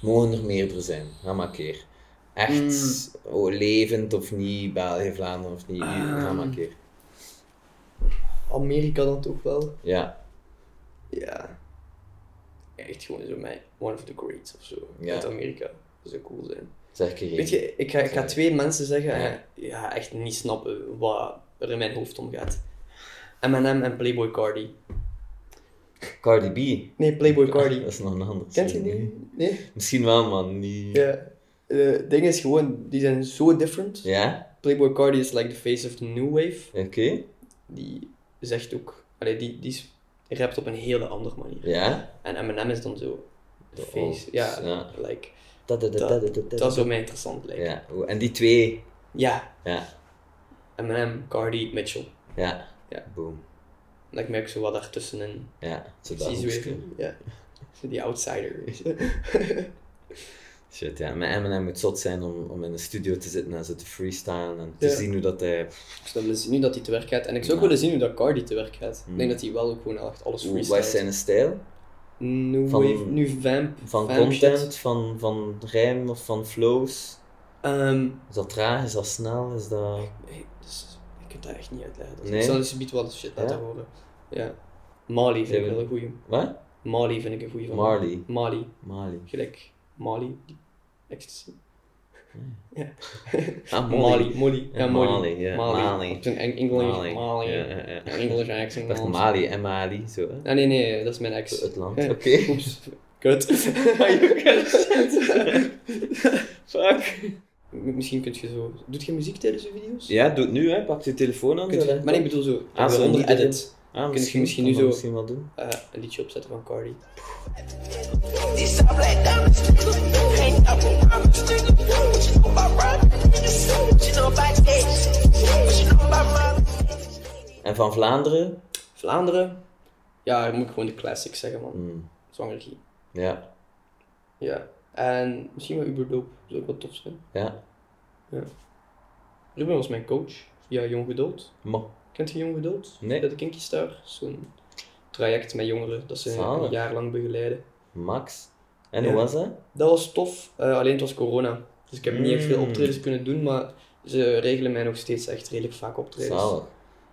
S1: Mogen er meerdere zijn, ga maar een keer. Echt
S2: Hmm.
S1: oh, levend of niet, België, Vlaanderen of niet, ga maar een
S2: Ehm.
S1: keer.
S2: Amerika dan toch wel?
S1: Ja,
S2: Ja. Echt gewoon zo mij, one of the greats of zo,
S1: Ja.
S2: uit Amerika. Dat zou cool zijn.
S1: zeg een keer
S2: Weet
S1: één.
S2: je, ik ga, ik ga
S1: Sorry.
S2: twee mensen zeggen en
S1: Ja.
S2: ja. echt niet snappen wat er in mijn hoofd omgaat. M&M en Playboy Cardi.
S1: Cardi B.
S2: Nee, Playboy Cardi.
S1: Dat is nog een ander.
S2: Kent je die? Nee?
S1: Misschien wel, man. niet
S2: Ja. Het ding is gewoon, die zijn zo different.
S1: Ja?
S2: Playboy Cardi is like the face of the new wave.
S1: Oké.
S2: Die zegt ook, allee, die, die is- rapt op een hele andere manier.
S1: Ja?
S2: En M&M is dan zo, the
S1: De
S2: face,
S1: old,
S2: ja,
S1: ja.
S2: like,
S1: Dat, dat, dat, dat, dat,
S2: dat zou mij interessant lijken.
S1: Ja, oeh, en die twee.
S2: Ja,
S1: Ja,
S2: M&M, Cardi, Mitchell.
S1: ja.
S2: Ja.
S1: Boom.
S2: En ik merk zo wat daartussenin.
S1: Ja, zo dat
S2: Precies
S1: hoekje.
S2: weer. Ja. Zo Die outsider.
S1: Shit, ja. Maar Eminem moet zot zijn om, om in de studio te zitten en zo te freestylen en te
S2: Ja.
S1: zien hoe dat hij...
S2: ik zou willen zien hoe dat hij te werk gaat. En ik zou ook
S1: Ja.
S2: willen zien hoe dat Cardi te werk gaat.
S1: Mm.
S2: Ik denk dat hij wel ook gewoon echt alles
S1: hoe- Wat is
S2: freestylt.
S1: zijn stijl?
S2: Nu
S1: Van-
S2: wave, nu vamp.
S1: Van
S2: vamp shit.
S1: content, van, van rijm of van flows?
S2: Ehm,
S1: Is dat traag? Is dat snel? Is dat...
S2: nee, dus, ik kan dat echt niet uitleggen. Dus
S1: Nee?
S2: Ik zal dus subiet wat shit laten
S1: Ja?
S2: horen. Ja. Mali vind ik
S1: Zijn we-
S2: wel een goeie.
S1: Wat?
S2: Mali vind ik een goeie van.
S1: Marley.
S2: Mali.
S1: Mali.
S2: Gelijk. Mali. die Ecstasy.
S1: Ah,
S2: Mali. Molly.
S1: Ja,
S2: Ja, Molly.
S1: Mali, ja. Mali.
S2: Op zijn Eng- English.
S1: Mali.
S2: Mali.
S1: Ja, ja, ja.
S2: Een English
S1: Ik
S2: accent.
S1: dacht
S2: Mali.
S1: Mali en Mali, zo hè?
S2: Nee, nee, nee, dat is mijn ex.
S1: Zo, Het land.
S2: Ja.
S1: Oké.
S2: Oeps, kut.
S1: Fuck.
S2: M- Misschien kun je zo... Doet je muziek tijdens je video's?
S1: Ja, doe het nu hè. Pak je telefoon aan.
S2: Kun
S1: zo,
S2: je-
S1: hè.
S2: Maar nee, ik bedoel zo,
S1: Ah,
S2: ah,
S1: zo
S2: onder
S1: niet
S2: edit,
S1: Ah,
S2: je
S1: misschien,
S2: misschien
S1: kan
S2: nu
S1: dat
S2: zo-
S1: Misschien wel doen.
S2: eh, een liedje opzetten van Cardi.
S3: These all black diamonds. Hang up in promise. What you know about robbing? What you know about that? What you know about mama?
S1: En van Vlaanderen?
S2: Vlaanderen. Ja, dan moet ik gewoon de classics zeggen, man.
S1: Hmm,
S2: Zwangergie.
S1: Ja,
S2: Ja. En misschien wel Uberdoop. Zou ook wel tof zijn.
S1: ja.
S2: Ruben was mijn coach. Ja, Jong Geduld.
S1: Mo.
S2: Kent je Jong Geduld?
S1: Nee.
S2: Bij de Kinky Star. Zo'n traject met jongeren dat ze
S1: Zalig.
S2: een jaar lang begeleiden.
S1: Max. En
S2: Ja.
S1: hoe was dat?
S2: Dat was tof, eh, alleen het was corona. Dus ik heb niet echt veel
S1: Mm.
S2: optredens kunnen doen, maar ze regelen mij nog steeds echt redelijk vaak optredens.
S1: Zalig.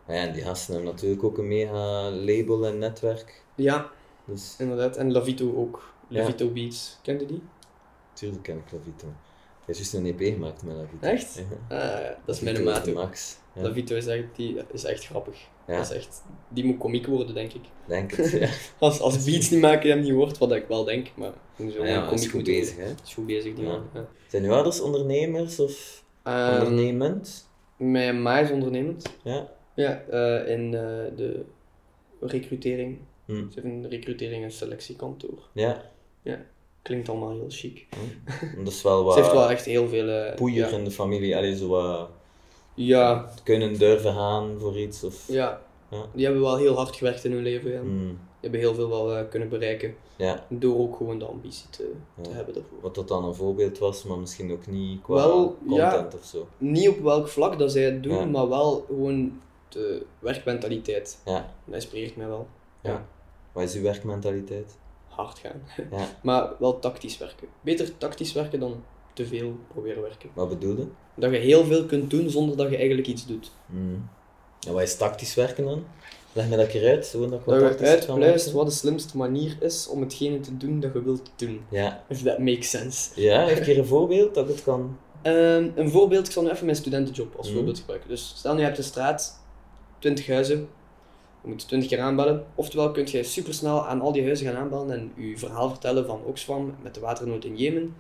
S1: Ja, en die gasten hebben natuurlijk ook een mega label en netwerk.
S2: Ja,
S1: Dus
S2: inderdaad. En Lavito ook.
S1: Ja.
S2: Lavito Beats. Kende die?
S1: natuurlijk ken ik Lavito. Hij is juist een EP gemaakt met Lavito.
S2: Echt?
S1: Ja.
S2: Ah, dat is
S1: Lavito
S2: mijn maat
S1: de
S2: ook.
S1: Max. Ja,
S2: Lavito is echt, die is echt grappig.
S1: Ja.
S2: Dat is echt, die moet komiek worden, denk ik.
S1: Denk het. Ja,
S2: Als, als Beats niet maken hem niet wordt, wat ik wel denk, maar die zou
S1: Ah
S2: wel
S1: ja maar is
S2: komiek
S1: goed
S2: moeten
S1: bezig
S2: worden.
S1: hè.
S2: Is goed bezig, die
S1: Ja.
S2: man. Ja.
S1: Zijn uw ouders ondernemers of
S2: Ehm,
S1: ondernemend?
S2: mijn ma is Ehm, ondernemend.
S1: Ja.
S2: Ja, eh, in eh, de recrutering.
S1: Hm.
S2: Ze heeft een recrutering en selectiekantoor.
S1: Ja.
S2: Ja. Klinkt allemaal heel chic.
S1: Dat is wel wat
S2: Ze heeft wel echt heel veel... eh,
S1: poeier
S2: ja.
S1: in de familie. Allee, zo wat
S2: Ja,
S1: kunnen durven gaan voor iets. Of...
S2: ja.
S1: Ja.
S2: Die hebben wel heel hard gewerkt in hun leven. Ja. Die
S1: Hmm,
S2: hebben heel veel wel eh, kunnen bereiken.
S1: ja.
S2: Door ook gewoon de ambitie te, te
S1: Ja.
S2: hebben daarvoor.
S1: Wat dat dan een voorbeeld was, maar misschien ook niet qua
S2: Wel, ja.
S1: content of zo.
S2: Niet op welk vlak dat zij het doen,
S1: Ja.
S2: maar wel gewoon de werkmentaliteit.
S1: Ja.
S2: Dat inspireert mij wel.
S1: Wat is uw werkmentaliteit?
S2: Hard gaan.
S1: Ja.
S2: maar wel tactisch werken. Beter tactisch werken dan te veel proberen werken.
S1: Wat bedoel je?
S2: Dat je heel veel kunt doen zonder dat je eigenlijk iets doet. Mm.
S1: Hmm. En wat is tactisch werken dan? Leg me dat een keer uit, zo dat ik wat
S2: dat je
S1: tactisch kan
S2: uitpluist
S1: werken.
S2: wat de slimste manier is om hetgene te doen dat je wilt doen.
S1: Ja.
S2: If that makes sense.
S1: ja, heeft hier een voorbeeld dat ik het kan.
S2: Ehm, een voorbeeld, ik zal nu even mijn studentenjob als
S1: Mhm.
S2: voorbeeld gebruiken. Dus stel nu je hebt een straat, 20 huizen, je moet 20 keer aanbellen. Oftewel kun je supersnel aan al die huizen gaan aanbellen en je verhaal vertellen van Oxfam met de waternood in Jemen.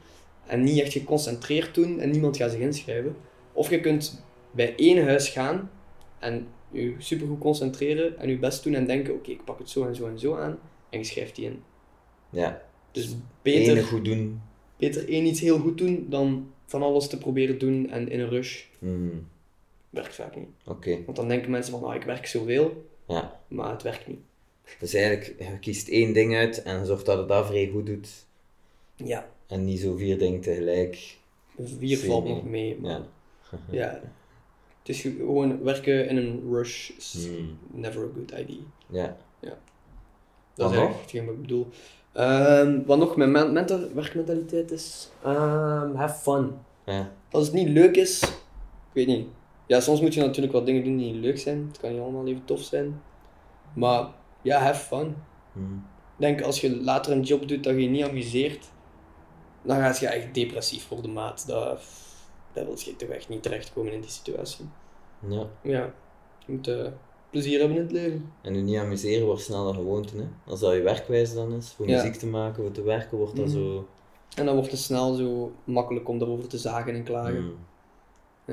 S2: En niet echt geconcentreerd doen en niemand gaat zich inschrijven. Of je kunt bij één huis gaan en je supergoed concentreren en je best doen en denken, oké, ik pak het zo en zo en zo aan. En je schrijft die in.
S1: Ja,
S2: Dus
S1: Beter.
S2: beter
S1: goed doen.
S2: beter één iets heel goed doen dan van alles te proberen doen en in een rush
S1: Hmm,
S2: werkt vaak niet.
S1: Oké,
S2: Want dan denken mensen van, ah, ik werk zoveel,
S1: ja.
S2: maar het werkt niet.
S1: Dus eigenlijk, je kiest één ding uit en zorgt dat het dat vrij goed doet.
S2: Ja.
S1: En niet zo vier dingen tegelijk.
S2: Vier
S1: Zie
S2: Dus valt
S1: je.
S2: nog mee, maar
S1: Ja.
S2: ja. Het is gewoon werken in een rush is
S1: Hmm,
S2: never a good idea.
S1: Ja.
S2: Dat
S1: Wat
S2: is
S1: nog?
S2: eigenlijk hetgeen wat ik bedoel. Ehm, wat nog mijn men- menta- werkmentaliteit is, ehm, have fun.
S1: ja.
S2: Als het niet leuk is, ik weet niet. Ja, soms moet je natuurlijk wel dingen doen die niet leuk zijn. Het kan niet allemaal even tof zijn. Maar ja, have fun.
S1: Hmm,
S2: denk als je later een job doet dat je je niet amuseert, dan gaat je echt depressief worden, maat. Dat, dat wil je toch echt niet terechtkomen in die situatie.
S1: ja.
S2: Ja, je moet eh, plezier hebben in het leven.
S1: En je niet amuseren wordt snel een gewoonte. Hè? Als dat je werkwijze dan is, voor
S2: Ja.
S1: muziek te maken, voor te werken, wordt dat
S2: Mhm.
S1: zo.
S2: En dan wordt het snel zo makkelijk om daarover te zagen en klagen.
S1: Hmm,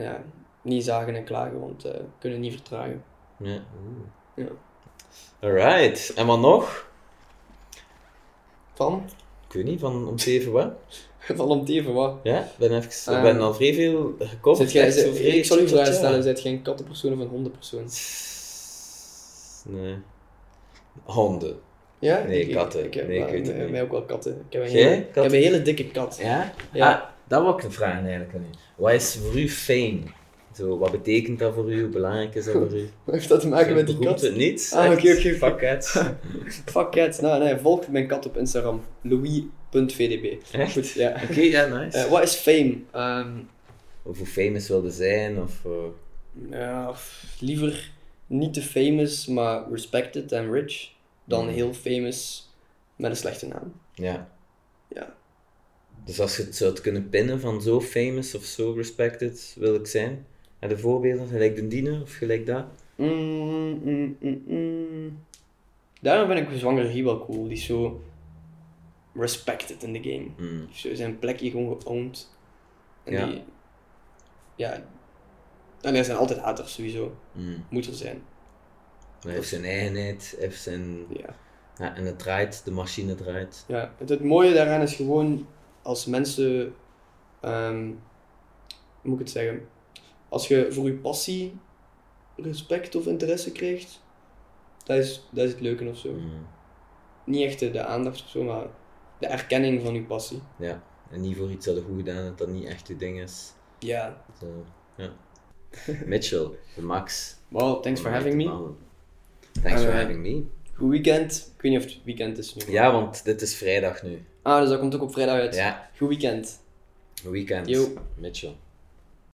S2: Ja, niet zagen en klagen, want eh, we kunnen niet vertragen.
S1: Ja. Oeh.
S2: Ja.
S1: Alright, en wat nog?
S2: Van?
S1: Ik weet niet, van om zeven wat?
S2: Van om teven, wat?
S1: Ja, ik ben, even, ik
S2: Ah.
S1: ben al vrij veel gekocht.
S2: Zit jij,
S1: Oh, echt zo
S2: zit-
S1: vrij-
S2: ik zal u vragen
S1: Ja.
S2: stellen, zijt jij een kattenpersoon of een hondenpersoon?
S1: Nee. Honden.
S2: Ja?
S1: Nee,
S2: Ik- ik-
S1: katten.
S2: Ik heb
S1: Nee, ik weet het
S2: eh,
S1: niet.
S2: mij ook wel katten. Ik heb een,
S1: Jij?
S2: hele, ik heb een
S1: Katten?
S2: hele dikke kat.
S1: Ja?
S2: Ja.
S1: Ah, dat wil ik een vraag eigenlijk aan u. Wat is voor u fame? Zo, wat betekent dat voor u? Hoe belangrijk is dat voor u?
S2: Wat heeft dat te maken met die
S1: Beroemd
S2: kat?
S1: het niet?
S2: Ah,
S1: echt.
S2: oké, oké, oké.
S1: Fuck it.
S2: Fuck cats. Nou, nee, volg mijn kat op Instagram. Louis.vdb.
S1: Echt?
S2: Goed, ja.
S1: Oké, ja, nice.
S2: Eh, wat is fame? Ehm,
S1: Of hoe famous wilde zijn, of... eh,
S2: ja, f- liever niet te famous, maar respected and rich. Dan
S1: Mhm.
S2: heel famous met een slechte naam.
S1: ja.
S2: Ja.
S1: Dus als je het zou kunnen pinnen van zo famous of zo respected wil ik zijn, en de voorbeelden, gelijk de diener of gelijk dat,
S2: Mm, mm, mm, mm. Daarom vind ik zwanger Guy wel cool. Die is zo respected in the game.
S1: hmm,
S2: Die heeft zo zijn plekje gewoon geowned. En
S1: Ja.
S2: die... Ja. En er zijn altijd haters sowieso.
S1: hmm.
S2: Moet er zijn.
S1: hij heeft zijn eigenheid, hij heeft zijn...
S2: Ja.
S1: Ja, en het draait, de machine draait.
S2: Ja, het, het mooie daaraan is gewoon als mensen, ehm, hoe moet ik het zeggen, als je voor je passie respect of interesse krijgt, dat is, dat is het leuke of zo.
S1: Hmm,
S2: Niet echt de, de aandacht of zo, maar de erkenning van je passie.
S1: Ja, en niet voor iets dat je goed gedaan hebt, dat niet echt je ding is.
S2: Ja.
S1: Zo, ja. Mitchell, de Max.
S2: Wow, thanks for
S1: Om mee
S2: having
S1: te
S2: me.
S1: babbelen. Thanks for
S2: Eh,
S1: having me.
S2: Goed weekend. Ik weet niet of het weekend is nu.
S1: Ja, want dit is vrijdag nu.
S2: Ah, dus dat komt ook op vrijdag uit.
S1: Ja,
S2: Goed weekend.
S1: weekend.
S2: Yo.
S1: Mitchell.